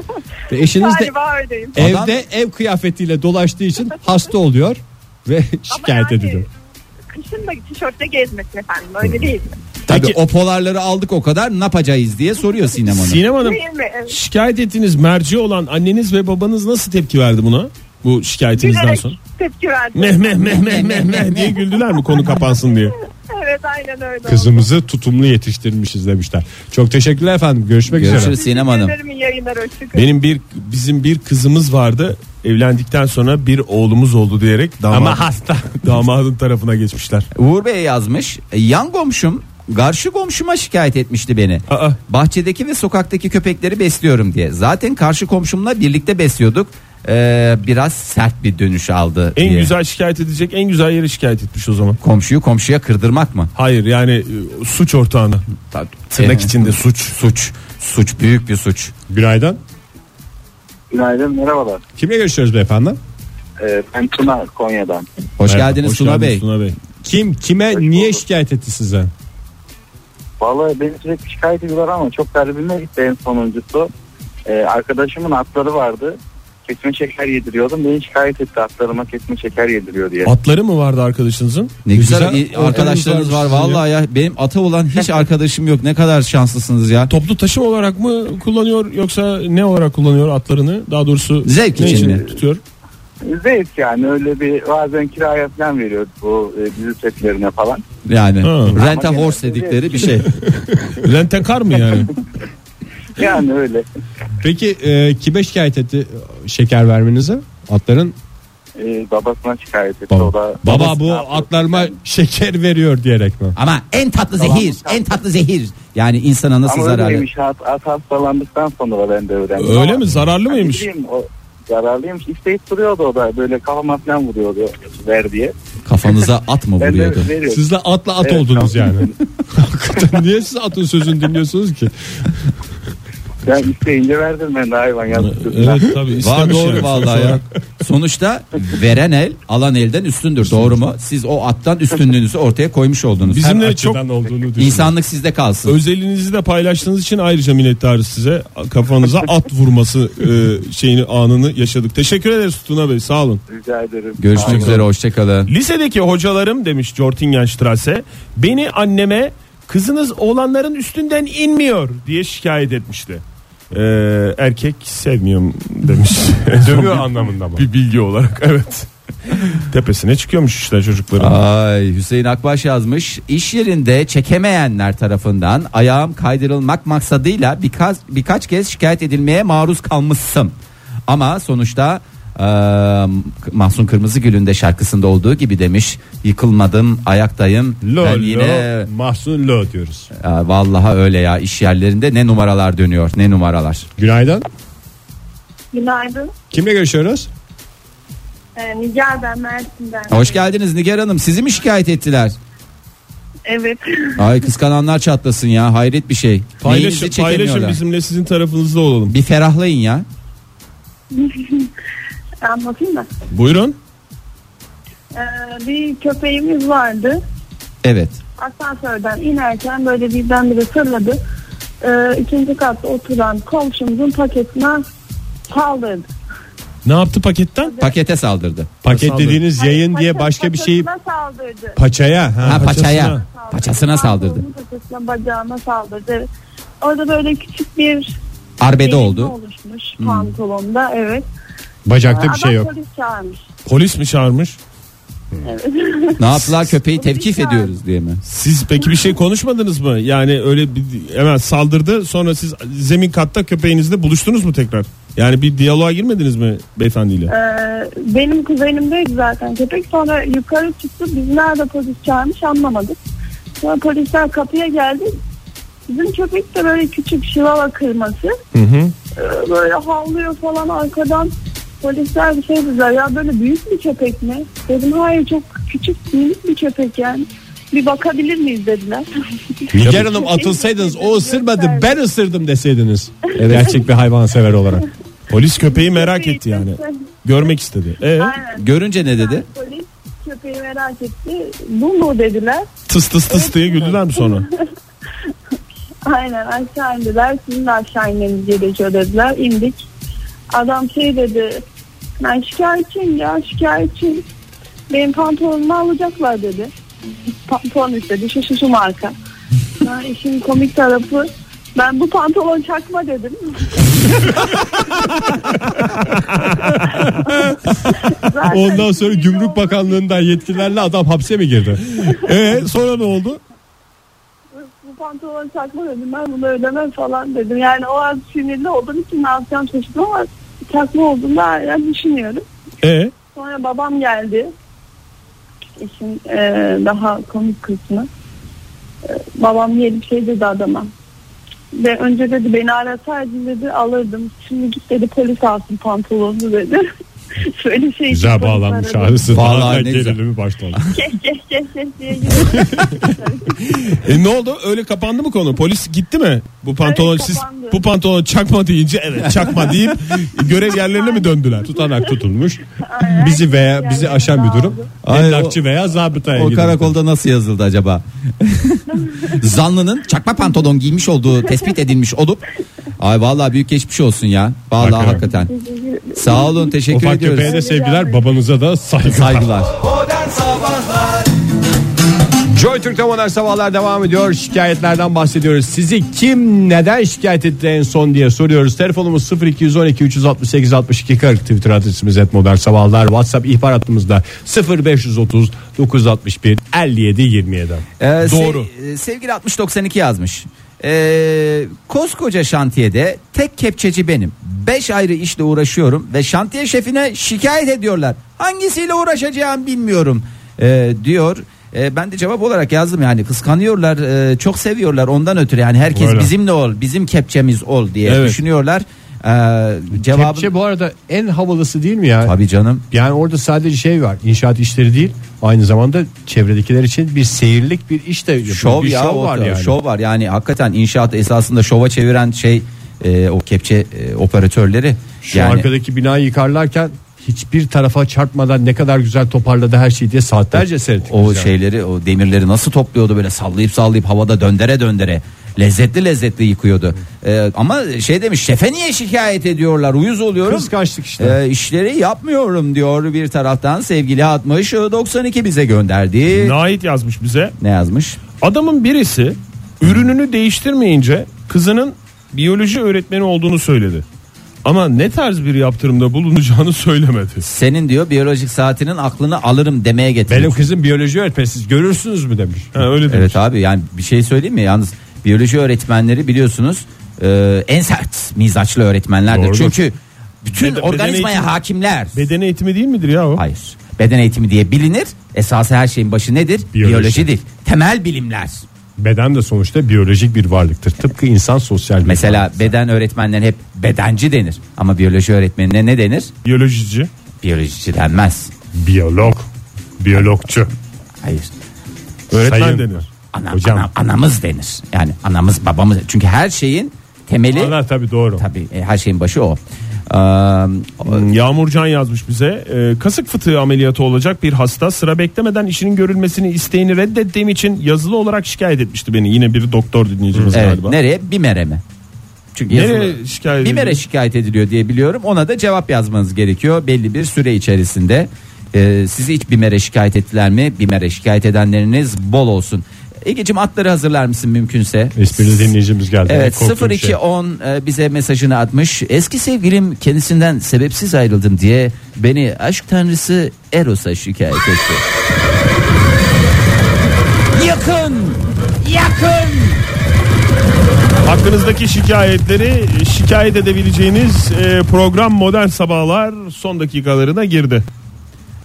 [SPEAKER 2] Ve eşiniz de
[SPEAKER 5] Galiba öyleyim.
[SPEAKER 2] *laughs* evde
[SPEAKER 3] Adam-
[SPEAKER 2] ev kıyafetiyle dolaştığı için hasta oluyor ve
[SPEAKER 5] Ama
[SPEAKER 2] şikayet
[SPEAKER 5] yani
[SPEAKER 2] ediliyor.
[SPEAKER 5] Kışın da tişörtle gezmesin efendim öyle değil mi?
[SPEAKER 3] Tabii
[SPEAKER 4] Peki.
[SPEAKER 3] o polarları aldık o kadar ne yapacağız diye soruyor Sinem Hanım.
[SPEAKER 4] Sinem Hanım
[SPEAKER 5] Değil mi? Evet.
[SPEAKER 4] şikayet ettiğiniz merci olan anneniz ve babanız nasıl tepki verdi buna? Bu şikayetinizden
[SPEAKER 5] Gülerek
[SPEAKER 4] sonra.
[SPEAKER 5] tepki verdim.
[SPEAKER 4] Meh meh meh meh meh meh diye güldüler mi konu kapansın diye.
[SPEAKER 5] Evet aynen öyle.
[SPEAKER 2] Kızımızı tutumlu yetiştirmişiz demişler. Çok teşekkürler efendim. Görüşmek üzere.
[SPEAKER 3] Görüşürüz Sinem Hanım.
[SPEAKER 5] Teşekkür ederim, iyi yayınlar hoşçakalın.
[SPEAKER 4] Benim bir bizim bir kızımız vardı. Evlendikten sonra bir oğlumuz oldu diyerek damadın,
[SPEAKER 2] Ama hasta.
[SPEAKER 4] *laughs* damadın tarafına geçmişler.
[SPEAKER 3] Uğur Bey yazmış. Yan komşum karşı komşuma şikayet etmişti beni.
[SPEAKER 4] Aa.
[SPEAKER 3] Bahçedeki ve sokaktaki köpekleri besliyorum diye. Zaten karşı komşumla birlikte besliyorduk. Ee, biraz sert bir dönüş aldı
[SPEAKER 4] En
[SPEAKER 3] diye.
[SPEAKER 4] güzel şikayet edecek en güzel yere şikayet etmiş o zaman.
[SPEAKER 3] Komşuyu komşuya kırdırmak mı?
[SPEAKER 4] Hayır yani e, suç ortağına. Tırnak
[SPEAKER 3] Ee,
[SPEAKER 4] içinde suç.
[SPEAKER 3] Suç. Suç büyük bir suç.
[SPEAKER 2] Günaydın.
[SPEAKER 6] *laughs* Günaydın merhabalar.
[SPEAKER 2] Kimle görüşüyoruz beyefendi?
[SPEAKER 6] Ee, ben Tuna Konya'dan.
[SPEAKER 3] Hoş
[SPEAKER 4] Merhaba,
[SPEAKER 3] geldiniz
[SPEAKER 4] hoş
[SPEAKER 3] Tuna
[SPEAKER 4] geldiniz
[SPEAKER 3] Bey.
[SPEAKER 4] Tuna Bey.
[SPEAKER 2] Kim kime
[SPEAKER 6] Hoş
[SPEAKER 2] niye
[SPEAKER 6] bulduk.
[SPEAKER 2] şikayet etti size?
[SPEAKER 6] Vallahi beni sürekli şikayet ediyorlar ama çok garibime gitti en sonuncusu. Ee, arkadaşımın atları vardı. Kesme şeker yediriyordum. Beni şikayet etti atlarıma kesme şeker yediriyor diye.
[SPEAKER 4] Atları mı vardı arkadaşınızın?
[SPEAKER 3] Ne güzel,
[SPEAKER 2] Güzel
[SPEAKER 3] i- arkadaşlarınız var
[SPEAKER 2] ortamınız var
[SPEAKER 3] vallahi ya. Benim ata olan
[SPEAKER 4] *laughs*
[SPEAKER 3] hiç arkadaşım yok. Ne kadar şanslısınız ya.
[SPEAKER 4] Toplu taşım olarak mı kullanıyor yoksa ne olarak kullanıyor atlarını? Daha doğrusu
[SPEAKER 3] Zevk
[SPEAKER 4] ne
[SPEAKER 3] için
[SPEAKER 4] için
[SPEAKER 3] mi?
[SPEAKER 4] tutuyor?
[SPEAKER 6] Zevk yani öyle bir bazen kiraya falan veriyor bu e, dizi setlerine falan.
[SPEAKER 3] Yani
[SPEAKER 4] Ha.
[SPEAKER 3] rent a
[SPEAKER 6] Ama
[SPEAKER 3] horse
[SPEAKER 6] genelde-
[SPEAKER 3] dedikleri bir şey.
[SPEAKER 4] Rentekar mı yani?
[SPEAKER 6] Yani öyle.
[SPEAKER 2] *laughs* Peki e, kime şikayet etti şeker vermenizi? Atların
[SPEAKER 6] Ee, babasına şikayet etti.
[SPEAKER 2] baba,
[SPEAKER 6] O da,
[SPEAKER 2] baba
[SPEAKER 6] babası ne
[SPEAKER 2] bu
[SPEAKER 6] yapıyor?
[SPEAKER 2] atlarıma şeker veriyor diyerek mi?
[SPEAKER 3] Ama en tatlı
[SPEAKER 6] Tamam.
[SPEAKER 3] zehir, en tatlı zehir. Yani insana nasıl
[SPEAKER 6] Ama
[SPEAKER 3] zararlı?
[SPEAKER 6] öyleymiş at, at hastalandıktan sonra ben de öğrendim.
[SPEAKER 4] Öyle
[SPEAKER 6] Ama-
[SPEAKER 4] mi? Zararlı
[SPEAKER 6] Yani
[SPEAKER 4] mıymış?
[SPEAKER 6] bileyim, o Zararlıymış. İsteyip duruyordu o da böyle kafama falan vuruyordu ver diye.
[SPEAKER 3] Kafanıza at mı
[SPEAKER 6] Ben
[SPEAKER 3] vuruyordu?
[SPEAKER 6] de veriyorum.
[SPEAKER 2] Siz de atla at
[SPEAKER 6] Evet,
[SPEAKER 2] oldunuz
[SPEAKER 6] tamam.
[SPEAKER 4] *laughs*
[SPEAKER 2] yani. Hakikaten niye siz atın sözünü dinliyorsunuz ki?
[SPEAKER 6] Ben isteyince verdim ben de hayvan yazık.
[SPEAKER 4] evet tabii istemiş.
[SPEAKER 3] Var doğru
[SPEAKER 4] yani.
[SPEAKER 3] vallahi ya. şey? Sonuçta veren el alan elden üstündür. Doğru mu? Siz o attan üstünlüğünüzü ortaya koymuş oldunuz.
[SPEAKER 4] Bizim
[SPEAKER 2] Her
[SPEAKER 4] de çok
[SPEAKER 2] açıdan olduğunu düşünün.
[SPEAKER 3] İnsanlık sizde kalsın.
[SPEAKER 4] özelinizi de paylaştığınız için ayrıca minnettarız size. Kafanıza at vurması e, şeyini anını yaşadık. Teşekkür ederiz Tuna Bey sağ olun.
[SPEAKER 6] Rica ederim.
[SPEAKER 3] Görüşmek üzere hoşçakalın.
[SPEAKER 4] Lisedeki hocalarım demiş Jortingenstrasse beni anneme kızınız oğlanların üstünden inmiyor diye şikayet etmişti. Ee, erkek sevmiyorum demiş.
[SPEAKER 2] *laughs* Dövüyor anlamında mı?
[SPEAKER 4] Bir bilgi olarak *laughs* evet. Tepesine çıkıyormuş işte çocukların.
[SPEAKER 3] Ay Hüseyin Akbaş yazmış. İş yerinde çekemeyenler tarafından ayağım kaydırılmak maksadıyla birkaç birkaç kez şikayet edilmeye maruz kalmışsın. Ama sonuçta eee Mahsun Kırmızıgül'ün de şarkısında olduğu gibi demiş. Yıkılmadım ayaktayım.
[SPEAKER 2] Lo
[SPEAKER 3] ben yine
[SPEAKER 2] lo Mahsun lo diyoruz.
[SPEAKER 3] Ya Ee, vallahi öyle ya iş yerlerinde ne numaralar dönüyor ne numaralar.
[SPEAKER 2] Günaydın.
[SPEAKER 5] Günaydın.
[SPEAKER 2] Kimle görüşüyoruz?
[SPEAKER 5] Ee, Nigar ben Mersin'den.
[SPEAKER 3] Hoş geldiniz Nigar Hanım sizi mi şikayet ettiler?
[SPEAKER 5] Evet. *laughs*
[SPEAKER 3] Ay kıskananlar çatlasın ya hayret bir şey.
[SPEAKER 4] Paylaşın,
[SPEAKER 3] Neyinizi çekemiyorlar?
[SPEAKER 4] paylaşın bizimle sizin tarafınızda olalım.
[SPEAKER 3] Bir ferahlayın ya.
[SPEAKER 5] Anlatayım mı?
[SPEAKER 4] Buyurun.
[SPEAKER 5] Ee, bir köpeğimiz vardı.
[SPEAKER 3] Evet.
[SPEAKER 5] Asansörden inerken böyle birdenbire fırladı. Ee, ikinci katta oturan komşumuzun paketine saldırdı.
[SPEAKER 4] Ne yaptı paketten?
[SPEAKER 3] Pakete saldırdı.
[SPEAKER 2] Paket
[SPEAKER 4] Sağ
[SPEAKER 2] dediğiniz yayın
[SPEAKER 5] Hayır,
[SPEAKER 2] diye
[SPEAKER 5] paça-
[SPEAKER 2] başka bir şey- şeyi
[SPEAKER 5] paçasına saldırdı.
[SPEAKER 2] paçaya.
[SPEAKER 3] Ha, paçaya.
[SPEAKER 4] şey paçasına.
[SPEAKER 3] Paçasına saldırdı.
[SPEAKER 5] Pantolonun Paçasına bacağına saldırdı. Orada böyle küçük bir
[SPEAKER 3] Arbede
[SPEAKER 5] eğilme
[SPEAKER 3] oldu.
[SPEAKER 5] oluşmuş pantolonda evet.
[SPEAKER 2] Bacakta Hmm. bir
[SPEAKER 5] Adam
[SPEAKER 2] şey yok.
[SPEAKER 5] polis çağırmış.
[SPEAKER 4] Polis mi çağırmış?
[SPEAKER 3] Ne yaptılar köpeği tevkif ediyoruz diye mi?
[SPEAKER 4] Siz peki bir şey konuşmadınız mı? Yani öyle bir, hemen saldırdı sonra siz zemin katta köpeğinizle buluştunuz mu tekrar? Yani bir diyaloğa girmediniz mi beyefendiyle?
[SPEAKER 5] Ee, benim kuzenimdeydi zaten köpek. Sonra yukarı çıktı. Biz nerede polis çağırmış anlamadık. Sonra polisler kapıya geldi. Bizim köpek de böyle küçük şivava kırması. Ee, böyle havlıyor falan arkadan. Polisler bir şey dediler. Ya böyle büyük bir köpek mi? Dedim hayır çok küçük minik bir köpek yani. Bir bakabilir miyiz dediler. *laughs*
[SPEAKER 2] Nigar Hanım atılsaydınız o ısırmadı
[SPEAKER 5] Gösterdi.
[SPEAKER 2] ben ısırdım deseydiniz. Gerçek bir hayvansever olarak.
[SPEAKER 4] Polis köpeği merak etti yani. Görmek istedi. E,
[SPEAKER 5] Aynen.
[SPEAKER 3] Görünce
[SPEAKER 2] Şey
[SPEAKER 3] ne dedi?
[SPEAKER 5] Polis köpeği merak etti. Bu mu dediler.
[SPEAKER 4] tıs tıs tıs diye güldüler mi sonra?
[SPEAKER 5] Aynen aşağı indiler. Sizin de aşağı inmeniz gerekiyor dediler. İndik. Adam şey dedi. Ben şikayetçiyim ya şikayetçiyim. Benim pantolonumu alacaklar dedi. Pantolon istedi. Şu şu, şu marka.
[SPEAKER 2] *laughs*
[SPEAKER 5] Ya işin komik tarafı ben bu pantolon
[SPEAKER 2] *laughs*
[SPEAKER 5] çakma dedim. Zaten
[SPEAKER 2] Ondan sonra Gümrük Bakanlığı'ndan yetkililerle adam hapse mi girdi?
[SPEAKER 4] E sonra ne oldu?
[SPEAKER 5] bu pantolon çakma dedim ben bunu ödemem falan dedim. Yani o an sinirli olduğum için ne yapacağım şaşırdım ama çakma olduğunu hala düşünüyorum.
[SPEAKER 4] E
[SPEAKER 5] Sonra babam geldi. İşin e, daha komik kısmı. E, babam yeni bir şey dedi adama. Ve önce dedi beni arasaydın dedi alırdım. Şimdi git dedi polis alsın pantolonunu dedi. *laughs* Şöyle şey
[SPEAKER 2] Güzel
[SPEAKER 5] polis
[SPEAKER 2] bağlanmış
[SPEAKER 5] *laughs* aradı.
[SPEAKER 2] ağrısı.
[SPEAKER 3] Vallahi
[SPEAKER 2] Vallahi
[SPEAKER 3] ne güzel.
[SPEAKER 2] gerilimi başladı.
[SPEAKER 5] Kes kes kes kes diye gidiyor.
[SPEAKER 4] *laughs* E ne oldu? Öyle kapandı mı konu? Polis gitti mi? Bu pantolon
[SPEAKER 5] Evet,
[SPEAKER 4] siz
[SPEAKER 5] kapandı.
[SPEAKER 4] bu pantolon çakma deyince
[SPEAKER 2] *laughs*
[SPEAKER 4] evet çakma deyip görev yerlerine mi döndüler?
[SPEAKER 2] Tutanak tutulmuş. *laughs* bizi veya bizi aşan bir durum.
[SPEAKER 3] Ay,
[SPEAKER 2] Emlakçı veya zabıtaya
[SPEAKER 3] O
[SPEAKER 2] gidiyor.
[SPEAKER 3] karakolda nasıl yazıldı acaba? *laughs* Zanlının çakma pantolon giymiş olduğu tespit edilmiş olup Ay vallahi büyük geçmiş olsun ya. Vallahi
[SPEAKER 2] Hakikaten.
[SPEAKER 3] hakikaten. Sağ olun teşekkür
[SPEAKER 2] Ufak
[SPEAKER 3] ediyoruz.
[SPEAKER 2] köpeğe de sevgiler babanıza da saygılar.
[SPEAKER 3] Saygılar.
[SPEAKER 2] Joy Türk'te modern sabahlar devam ediyor. Şikayetlerden bahsediyoruz. Sizi kim neden şikayet etti en son diye soruyoruz. Telefonumuz 0212 368 62 40. Twitter adresimiz et modern sabahlar. WhatsApp ihbar hattımızda 0530 961 57 27.
[SPEAKER 3] Ee, se-
[SPEAKER 2] Doğru.
[SPEAKER 3] e, sevgili 6092 yazmış. Ee, koskoca şantiyede tek kepçeci benim. 5 ayrı işle uğraşıyorum ve şantiye şefine şikayet ediyorlar. Hangisiyle uğraşacağım bilmiyorum ee, diyor. Ee, ben de cevap olarak yazdım yani kıskanıyorlar, e, çok seviyorlar ondan ötürü yani herkes
[SPEAKER 2] Öyle.
[SPEAKER 3] bizimle ol, bizim kepçemiz ol diye
[SPEAKER 4] Evet.
[SPEAKER 3] düşünüyorlar. Ee, cevabın
[SPEAKER 2] Kepçe bu arada en havalısı değil mi ya?
[SPEAKER 3] tabii canım.
[SPEAKER 2] Yani orada sadece şey var. İnşaat işleri değil. Aynı zamanda çevredekiler için bir seyirlik bir iş de yapıyor.
[SPEAKER 3] Şov
[SPEAKER 2] bir
[SPEAKER 3] ya
[SPEAKER 2] şov
[SPEAKER 3] o
[SPEAKER 2] var
[SPEAKER 3] da,
[SPEAKER 2] yani.
[SPEAKER 3] Şov var yani hakikaten inşaat esasında şova çeviren şey e, o kepçe e, operatörleri.
[SPEAKER 2] Şu
[SPEAKER 3] yani
[SPEAKER 2] arkadaki binayı yıkarlarken hiçbir tarafa çarpmadan ne kadar güzel toparladı her şeyi diye saatlerce seyrettik.
[SPEAKER 3] o şey-
[SPEAKER 2] biz yani.
[SPEAKER 3] şeyleri o demirleri nasıl topluyordu böyle sallayıp sallayıp havada döndere döndere. Lezzetli lezzetli yıkıyordu. E, ama şey demiş şefe niye şikayet ediyorlar uyuz oluyorum.
[SPEAKER 2] Kıskançlık işte.
[SPEAKER 3] E, işleri yapmıyorum diyor bir taraftan sevgili 60 92 bize gönderdi.
[SPEAKER 4] Nait yazmış bize.
[SPEAKER 3] Ne yazmış?
[SPEAKER 4] Adamın birisi ürününü değiştirmeyince kızının biyoloji öğretmeni olduğunu söyledi. Ama ne tarz bir yaptırımda bulunacağını *laughs* söylemedi.
[SPEAKER 3] Senin diyor biyolojik saatinin aklını alırım demeye getirmiş.
[SPEAKER 2] Benim kızım biyoloji öğretmeni siz görürsünüz mü demiş.
[SPEAKER 4] Ha, öyle demiş.
[SPEAKER 3] Evet abi yani bir şey söyleyeyim mi? Yalnız biyoloji öğretmenleri biliyorsunuz e, en sert mizaçlı öğretmenlerdir.
[SPEAKER 4] Doğrudur.
[SPEAKER 3] Çünkü bütün
[SPEAKER 4] Beden- beden
[SPEAKER 3] organizmaya
[SPEAKER 4] eğitimi-
[SPEAKER 3] hakimler.
[SPEAKER 4] Beden eğitimi değil midir ya o?
[SPEAKER 3] Hayır. Beden eğitimi diye bilinir. Esası her şeyin başı nedir?
[SPEAKER 2] Biyoloji.
[SPEAKER 3] Biyolojidir. Temel bilimler.
[SPEAKER 2] Beden de sonuçta biyolojik bir varlıktır. Tıpkı insan sosyal bir
[SPEAKER 3] Mesela beden öğretmenlerine hep bedenci denir. Ama biyoloji öğretmenine ne denir?
[SPEAKER 4] Biyolojici.
[SPEAKER 3] Biyolojici denmez.
[SPEAKER 2] biyolog, biyologçu.
[SPEAKER 3] Hayır.
[SPEAKER 4] Öğretmen
[SPEAKER 2] Sayın-
[SPEAKER 4] denir.
[SPEAKER 3] Ana,
[SPEAKER 2] Hocam.
[SPEAKER 3] ana- anamız denir. Yani anamız babamız. Çünkü her şeyin temeli
[SPEAKER 2] Onlar tabii doğru.
[SPEAKER 3] tabii e, her şeyin başı o. Ee, o-
[SPEAKER 4] Yağmurcan Hmm, yazmış bize. Ee, kasık fıtığı ameliyatı olacak bir hasta sıra beklemeden işinin görülmesini isteğini reddettiğim için yazılı olarak şikayet etmişti beni. Yine bir doktor dinleyicimiz
[SPEAKER 3] evet,
[SPEAKER 4] galiba.
[SPEAKER 3] nereye? Bimer'e mi? Çünkü yazılı-
[SPEAKER 4] Nereye şikayet
[SPEAKER 3] Bir mere
[SPEAKER 4] edildi?
[SPEAKER 3] şikayet ediliyor diye biliyorum. Ona da cevap yazmanız gerekiyor belli bir süre içerisinde. Ee, sizi hiç bir mere şikayet ettiler mi? Bir mere şikayet edenleriniz bol olsun. Egeciğim atları hazırlar mısın mümkünse?
[SPEAKER 2] Esprili dinleyicimiz geldi.
[SPEAKER 3] Evet
[SPEAKER 2] Korktuğum şey.
[SPEAKER 3] 0210 e, bize mesajını atmış. Eski sevgilim kendisinden sebepsiz ayrıldım diye beni aşk tanrısı Eros'a şikayet etti. yakın! Yakın!
[SPEAKER 4] Hakkınızdaki şikayetleri e, şikayet edebileceğiniz e, program Modern Sabahlar son dakikalarına girdi.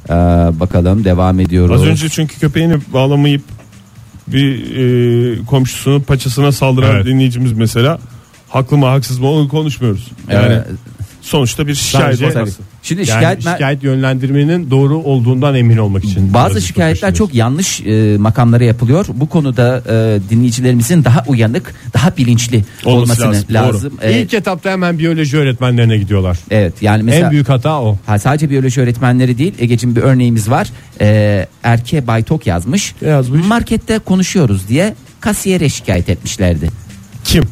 [SPEAKER 3] Ee, bakalım devam ediyoruz.
[SPEAKER 4] Az önce çünkü köpeğini bağlamayıp bir e, komşusunun paçasına saldıran
[SPEAKER 2] Evet.
[SPEAKER 4] dinleyicimiz mesela haklı mı haksız mı onu konuşmuyoruz. Yani
[SPEAKER 3] Ee,
[SPEAKER 4] sonuçta bir şikayet
[SPEAKER 2] Sadece-
[SPEAKER 4] olması.
[SPEAKER 3] şimdi
[SPEAKER 2] Yani
[SPEAKER 3] şikayet,
[SPEAKER 2] şikayet, yönlendirmenin doğru olduğundan emin olmak için.
[SPEAKER 3] Bazı
[SPEAKER 2] Birazcık
[SPEAKER 3] şikayetler
[SPEAKER 2] uğraşıyoruz.
[SPEAKER 3] çok yanlış e, makamlara yapılıyor. Bu konuda e, dinleyicilerimizin daha uyanık, daha bilinçli
[SPEAKER 4] Olması
[SPEAKER 3] olması
[SPEAKER 4] lazım,
[SPEAKER 3] lazım.
[SPEAKER 4] doğru.
[SPEAKER 3] E,
[SPEAKER 2] İlk etapta hemen biyoloji öğretmenlerine gidiyorlar.
[SPEAKER 3] evet yani mesela
[SPEAKER 2] en büyük hata o.
[SPEAKER 3] ha, sadece biyoloji öğretmenleri değil Ege'cim bir örneğimiz var. E, Erke Baytok yazmış.
[SPEAKER 4] Yazmış.
[SPEAKER 3] Markette konuşuyoruz diye kasiyere şikayet etmişlerdi.
[SPEAKER 4] Kim?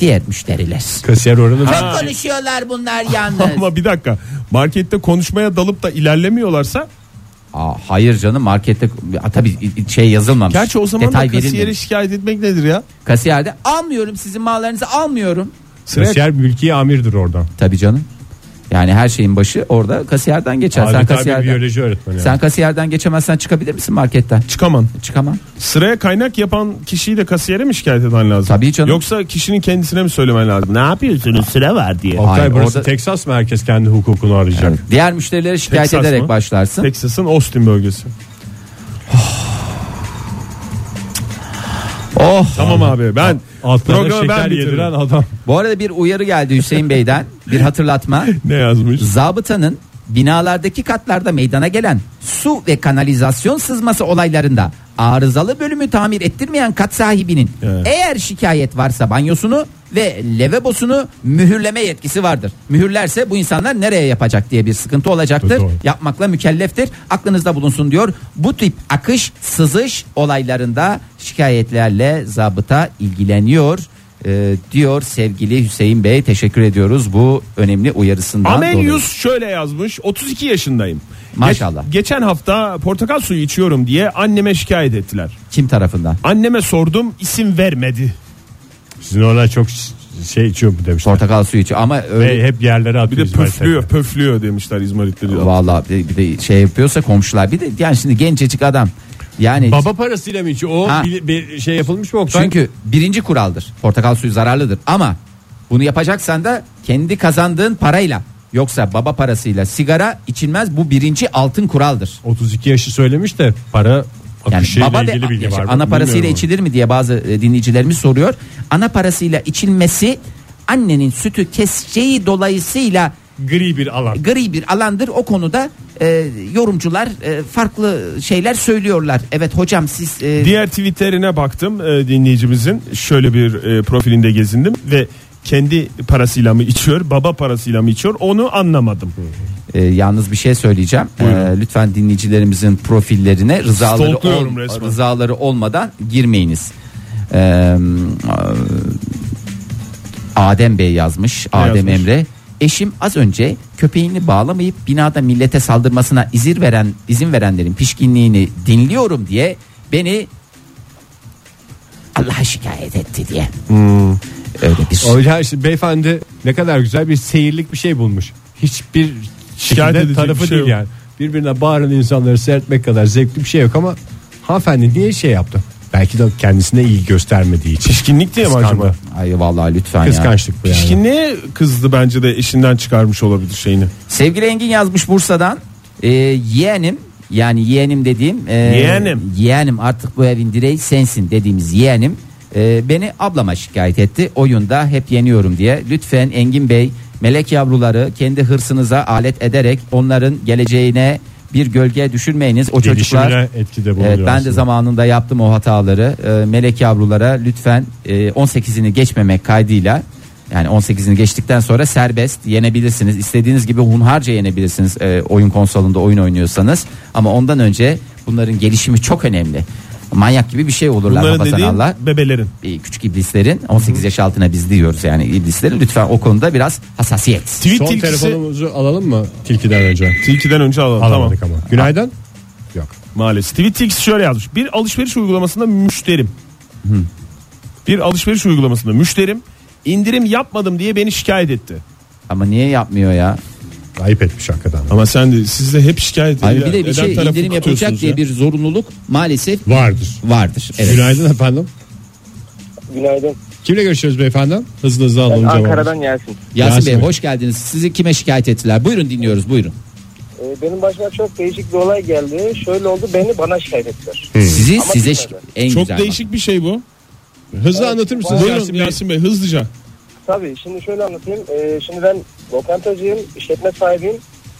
[SPEAKER 3] Diğer müşteriler.
[SPEAKER 2] Kasiyer oranı
[SPEAKER 3] Çok konuşuyorlar bunlar yalnız.
[SPEAKER 4] Ama bir dakika markette konuşmaya dalıp da ilerlemiyorlarsa
[SPEAKER 3] Aa, hayır canım markette Aa, tabii şey yazılmamış.
[SPEAKER 4] gerçi o zaman
[SPEAKER 3] Detay
[SPEAKER 4] da kasiyere
[SPEAKER 3] verilmemiş.
[SPEAKER 4] şikayet etmek nedir ya?
[SPEAKER 3] kasiyerde almıyorum sizin mallarınızı almıyorum.
[SPEAKER 2] Kasiyer mülki amirdir oradan.
[SPEAKER 3] Tabii canım. Yani her şeyin başı orada kasiyerden geçer. sen
[SPEAKER 2] Adeta bir
[SPEAKER 3] kasiyerden.
[SPEAKER 2] biyoloji öğretmeni. yani.
[SPEAKER 3] Sen kasiyerden geçemezsen çıkabilir misin marketten?
[SPEAKER 4] Çıkaman.
[SPEAKER 3] Çıkamam.
[SPEAKER 4] Sıraya kaynak yapan kişiyi de kasiyere mi şikayet etmen lazım?
[SPEAKER 3] Tabii canım.
[SPEAKER 4] Yoksa kişinin kendisine mi söylemen lazım? Ne yapıyorsunuz sıra var diye.
[SPEAKER 2] Oktay
[SPEAKER 3] Hayır,
[SPEAKER 2] burası
[SPEAKER 3] orada-
[SPEAKER 2] Teksas mı herkes kendi hukukunu arayacak?
[SPEAKER 3] Evet. Diğer müşterilere şikayet
[SPEAKER 4] Texas
[SPEAKER 3] ederek
[SPEAKER 4] mı?
[SPEAKER 3] başlarsın.
[SPEAKER 4] Texas'ın Austin bölgesi.
[SPEAKER 3] Oh.
[SPEAKER 4] Tamam abi ben
[SPEAKER 2] Altlarına
[SPEAKER 4] programı
[SPEAKER 2] şeker
[SPEAKER 4] ben
[SPEAKER 2] yediren
[SPEAKER 4] bitiririm.
[SPEAKER 2] adam.
[SPEAKER 3] Bu arada bir uyarı geldi Hüseyin Bey'den. Bir hatırlatma.
[SPEAKER 4] *laughs* *laughs* Ne yazmış?
[SPEAKER 3] Zabıtanın binalardaki katlarda meydana gelen su ve kanalizasyon sızması olaylarında arızalı bölümü tamir ettirmeyen kat sahibinin
[SPEAKER 4] Evet.
[SPEAKER 3] eğer şikayet varsa banyosunu ve levebosunu mühürleme yetkisi vardır. Mühürlerse bu insanlar nereye yapacak diye bir sıkıntı olacaktır.
[SPEAKER 2] Doğru.
[SPEAKER 3] Yapmakla mükelleftir. Aklınızda bulunsun diyor. Bu tip akış, sızış olaylarında şikayetlerle zabıta ilgileniyor. e, diyor sevgili Hüseyin Bey teşekkür ediyoruz bu önemli uyarısından dolayı.
[SPEAKER 4] Amelius şöyle yazmış 32 yaşındayım.
[SPEAKER 3] Maşallah.
[SPEAKER 4] Geç- geçen hafta portakal suyu içiyorum diye anneme şikayet ettiler.
[SPEAKER 3] Kim tarafından?
[SPEAKER 4] Anneme sordum isim vermedi.
[SPEAKER 2] Sizin oralar çok ş- şey içiyor bu demişler.
[SPEAKER 3] Portakal suyu içiyor ama öyle
[SPEAKER 2] Ve hep yerlere
[SPEAKER 4] Bir de
[SPEAKER 2] atıyor. İsmail
[SPEAKER 4] pöflüyor
[SPEAKER 2] Tepe.
[SPEAKER 4] pöflüyor demişler İzmaritleri.
[SPEAKER 3] vallahi bir, bir de şey yapıyorsa komşular bir de yani şimdi gencecik adam. Yani
[SPEAKER 2] Baba parasıyla mı içiyor? O
[SPEAKER 3] Ha.
[SPEAKER 2] bir, bir şey yapılmış mı Oktay?
[SPEAKER 3] çünkü birinci kuraldır. Portakal suyu zararlıdır ama bunu yapacaksan da kendi kazandığın parayla yoksa baba parasıyla sigara içilmez bu birinci altın kuraldır.
[SPEAKER 2] 32 yaşı söylemiş de para
[SPEAKER 3] Yani
[SPEAKER 2] akışıyla
[SPEAKER 3] baba ve
[SPEAKER 2] ilgili bilgi var. mı?
[SPEAKER 3] ana parasıyla
[SPEAKER 2] Bilmiyorum.
[SPEAKER 3] içilir mi diye bazı e, dinleyicilerimiz soruyor. Ana parasıyla içilmesi annenin sütü keseceği dolayısıyla
[SPEAKER 2] Gri bir alan.
[SPEAKER 3] gri bir alandır. O konuda e, yorumcular e, farklı şeyler söylüyorlar. Evet hocam siz e,
[SPEAKER 4] Diğer tweetlerine baktım e, dinleyicimizin şöyle bir e, profilinde gezindim ve kendi parasıyla mı içiyor baba parasıyla mı içiyor onu anlamadım.
[SPEAKER 3] e, yalnız bir şey söyleyeceğim. E, lütfen dinleyicilerimizin profillerine rızaları
[SPEAKER 4] Stalkluyorum resmen.
[SPEAKER 3] rızaları olmadan girmeyiniz. E, e, Adem Bey yazmış. Adem
[SPEAKER 4] yazmış?
[SPEAKER 3] Emre Eşim az önce köpeğini bağlamayıp binada millete saldırmasına izin veren izin verenlerin pişkinliğini dinliyorum
[SPEAKER 4] Hmm.
[SPEAKER 3] diye beni Allah'a şikayet etti diye. Öyle bir.
[SPEAKER 2] O yüzden şimdi beyefendi ne kadar güzel bir seyirlik bir şey bulmuş. Hiçbir şekilde
[SPEAKER 4] edecek
[SPEAKER 2] tarafı
[SPEAKER 4] bir şey
[SPEAKER 2] değil
[SPEAKER 4] yok.
[SPEAKER 2] yani. Birbirine bağıran insanları seyretmek kadar zevkli bir şey yok ama hanımefendi niye şey yaptı? Belki de kendisine iyi göstermediği için.
[SPEAKER 4] Pişkinlik diye mi
[SPEAKER 2] Kıskandı.
[SPEAKER 4] acaba?
[SPEAKER 3] Ay vallahi lütfen ya.
[SPEAKER 2] Kıskançlık bu yani.
[SPEAKER 4] Pişkinliğe kızdı bence de eşinden çıkarmış olabilir şeyini.
[SPEAKER 3] Sevgili Engin yazmış Bursa'dan. Ee, yeğenim yani yeğenim dediğim e,
[SPEAKER 4] Yeğenim.
[SPEAKER 3] yeğenim artık bu evin direği sensin dediğimiz yeğenim e, beni ablama şikayet etti. Oyunda hep yeniyorum diye. Lütfen Engin Bey melek yavruları kendi hırsınıza alet ederek onların geleceğine bir gölge düşürmeyiniz. O çocuklar
[SPEAKER 2] Gelişimine etkide bulunuyor.
[SPEAKER 3] Evet, ben de
[SPEAKER 2] aslında.
[SPEAKER 3] zamanında yaptım o hataları. Ee, melek yavrulara lütfen e, 18'ini geçmemek kaydıyla yani 18'ini geçtikten sonra serbest yenebilirsiniz. İstediğiniz gibi hunharca yenebilirsiniz e, oyun konsolunda oyun oynuyorsanız. Ama ondan önce bunların gelişimi çok önemli. Manyak gibi bir şey olurlar
[SPEAKER 4] Bunların
[SPEAKER 3] hafazan
[SPEAKER 4] dediğin
[SPEAKER 3] Allah.
[SPEAKER 4] bebelerin.
[SPEAKER 3] E, Küçük iblislerin 18 yaş altına biz diyoruz yani iblislerin lütfen o konuda biraz hassasiyet.
[SPEAKER 4] Tweet
[SPEAKER 2] Son
[SPEAKER 4] tilkisi.
[SPEAKER 2] telefonumuzu alalım mı tilkiden önce?
[SPEAKER 4] Tilkiden önce alalım.
[SPEAKER 2] Alamadık
[SPEAKER 4] tamam.
[SPEAKER 2] ama. Günaydın. Yok.
[SPEAKER 4] Maalesef. Tweet tilkisi şöyle yazmış. Bir alışveriş uygulamasında müşterim. Bir alışveriş uygulamasında müşterim indirim yapmadım diye beni şikayet etti.
[SPEAKER 3] Ama niye yapmıyor ya?
[SPEAKER 2] Ayıp etmiş hakikaten.
[SPEAKER 4] Ama sen de siz de hep şikayet
[SPEAKER 3] Abi
[SPEAKER 4] edilen-
[SPEAKER 3] bir de bir
[SPEAKER 4] eden
[SPEAKER 3] şey
[SPEAKER 4] tarafı
[SPEAKER 3] indirim yapacak
[SPEAKER 4] tutuyorsunuz
[SPEAKER 3] diye
[SPEAKER 4] ya.
[SPEAKER 3] bir zorunluluk maalesef
[SPEAKER 2] Vardır.
[SPEAKER 3] vardır. Evet.
[SPEAKER 2] Günaydın efendim.
[SPEAKER 7] Günaydın.
[SPEAKER 2] Kimle görüşüyoruz beyefendi? Hızlı hızlı alalım cevabı.
[SPEAKER 7] Ankara'dan Yasin.
[SPEAKER 3] Yasin,
[SPEAKER 2] Yasin
[SPEAKER 3] Bey
[SPEAKER 2] Bey.
[SPEAKER 3] hoş geldiniz. Sizi kime şikayet ettiler? Buyurun dinliyoruz buyurun.
[SPEAKER 7] Ee, benim başıma çok değişik bir olay geldi. Şöyle oldu beni bana şikayet ettiler.
[SPEAKER 3] Sizi
[SPEAKER 7] Ama
[SPEAKER 3] size
[SPEAKER 7] gitmedi.
[SPEAKER 3] şi- en
[SPEAKER 8] Çok
[SPEAKER 3] güzel.
[SPEAKER 8] değişik bir şey bu.
[SPEAKER 2] Hızlı anlatır mısınız?
[SPEAKER 8] Buyurun
[SPEAKER 2] Yasin
[SPEAKER 8] Yasin,
[SPEAKER 2] Bey?
[SPEAKER 8] Bey hızlıca.
[SPEAKER 7] Tabii şimdi şöyle anlatayım. Ee, şimdi ben lokantacıyım, işletme sahibiyim.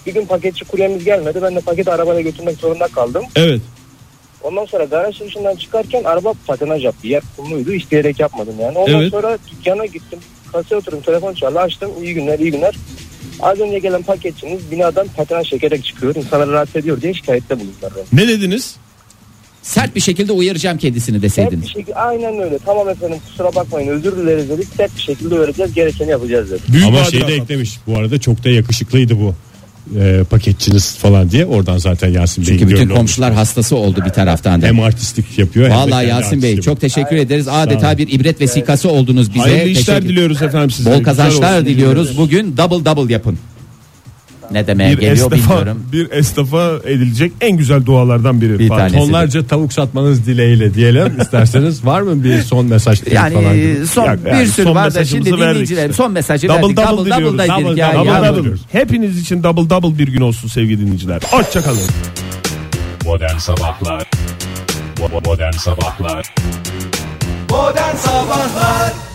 [SPEAKER 7] Bir gün paketçi kuryemiz gelmedi. Ben de paketi arabada götürmek zorunda kaldım.
[SPEAKER 8] Evet.
[SPEAKER 7] Ondan sonra garaj çıkışından çıkarken araba patinaj yaptı. Yer kumluydu. isteyerek yapmadım yani. Ondan
[SPEAKER 8] Evet.
[SPEAKER 7] sonra dükkana gittim. Kasaya oturdum. Telefon çaldı. Açtım. İyi günler, iyi günler. Az önce gelen paketçiniz binadan patinaj çekerek çıkıyor. İnsanları rahatsız ediyor diye şikayette bulundular. beni.
[SPEAKER 8] Ne dediniz?
[SPEAKER 3] Sert bir şekilde uyaracağım kendisini
[SPEAKER 7] Sert bir
[SPEAKER 3] deseydiniz.
[SPEAKER 7] şekilde aynen öyle. Tamam efendim kusura bakmayın özür dileriz dedik. Sert bir şekilde öğreteceğiz gerekeni yapacağız dedik.
[SPEAKER 8] Büyük
[SPEAKER 2] Ama
[SPEAKER 8] badire
[SPEAKER 2] şeyi de
[SPEAKER 8] atlattı.
[SPEAKER 2] eklemiş. Bu arada çok da yakışıklıydı bu. Ee, paketçiniz falan diye oradan zaten Yasin Bey'in
[SPEAKER 3] Çünkü bütün
[SPEAKER 2] gönlü olmuş.
[SPEAKER 3] komşular hastası oldu bir taraftan da.
[SPEAKER 2] hem artistlik yapıyor hem de
[SPEAKER 3] Vallahi
[SPEAKER 2] kendi
[SPEAKER 3] Yasin Bey
[SPEAKER 2] artistliği
[SPEAKER 3] çok teşekkür ederiz. Adeta bir ibret vesikası oldunuz bize.
[SPEAKER 4] Hayırlı işler
[SPEAKER 3] Teşekkür-
[SPEAKER 4] diliyoruz efendim size.
[SPEAKER 3] Bol
[SPEAKER 4] Güzel
[SPEAKER 3] kazançlar
[SPEAKER 4] olsun.
[SPEAKER 3] diliyoruz. Bugün double double yapın. Ne demeye
[SPEAKER 4] Bir
[SPEAKER 3] geliyor
[SPEAKER 4] esnafa, *laughs*
[SPEAKER 3] bilmiyorum.
[SPEAKER 4] bir esnafa edilecek en güzel dualardan biri.
[SPEAKER 3] Bir
[SPEAKER 4] Fatih.
[SPEAKER 3] tanesi.
[SPEAKER 2] Tonlarca tavuk satmanız dileğiyle
[SPEAKER 3] *laughs*
[SPEAKER 2] diyelim isterseniz var mı bir son mesaj tweet
[SPEAKER 3] Yani
[SPEAKER 2] falan gibi?
[SPEAKER 3] e, son
[SPEAKER 4] Yok, yani
[SPEAKER 3] bir sürü
[SPEAKER 4] son
[SPEAKER 3] var da
[SPEAKER 4] mesajımızı
[SPEAKER 3] şimdi
[SPEAKER 4] verdik
[SPEAKER 3] dinleyicilerim
[SPEAKER 4] işte.
[SPEAKER 3] son mesajı
[SPEAKER 4] Double
[SPEAKER 3] verdik.
[SPEAKER 4] double,
[SPEAKER 3] double
[SPEAKER 4] diliyoruz.
[SPEAKER 3] da
[SPEAKER 4] Double
[SPEAKER 3] dedik ya,
[SPEAKER 4] double,
[SPEAKER 3] ya.
[SPEAKER 4] double. Hepiniz için double double bir gün olsun sevgili dinleyiciler. Hoşçakalın.
[SPEAKER 9] Modern Sabahlar Bo- bo- Modern Sabahlar
[SPEAKER 10] Modern Sabahlar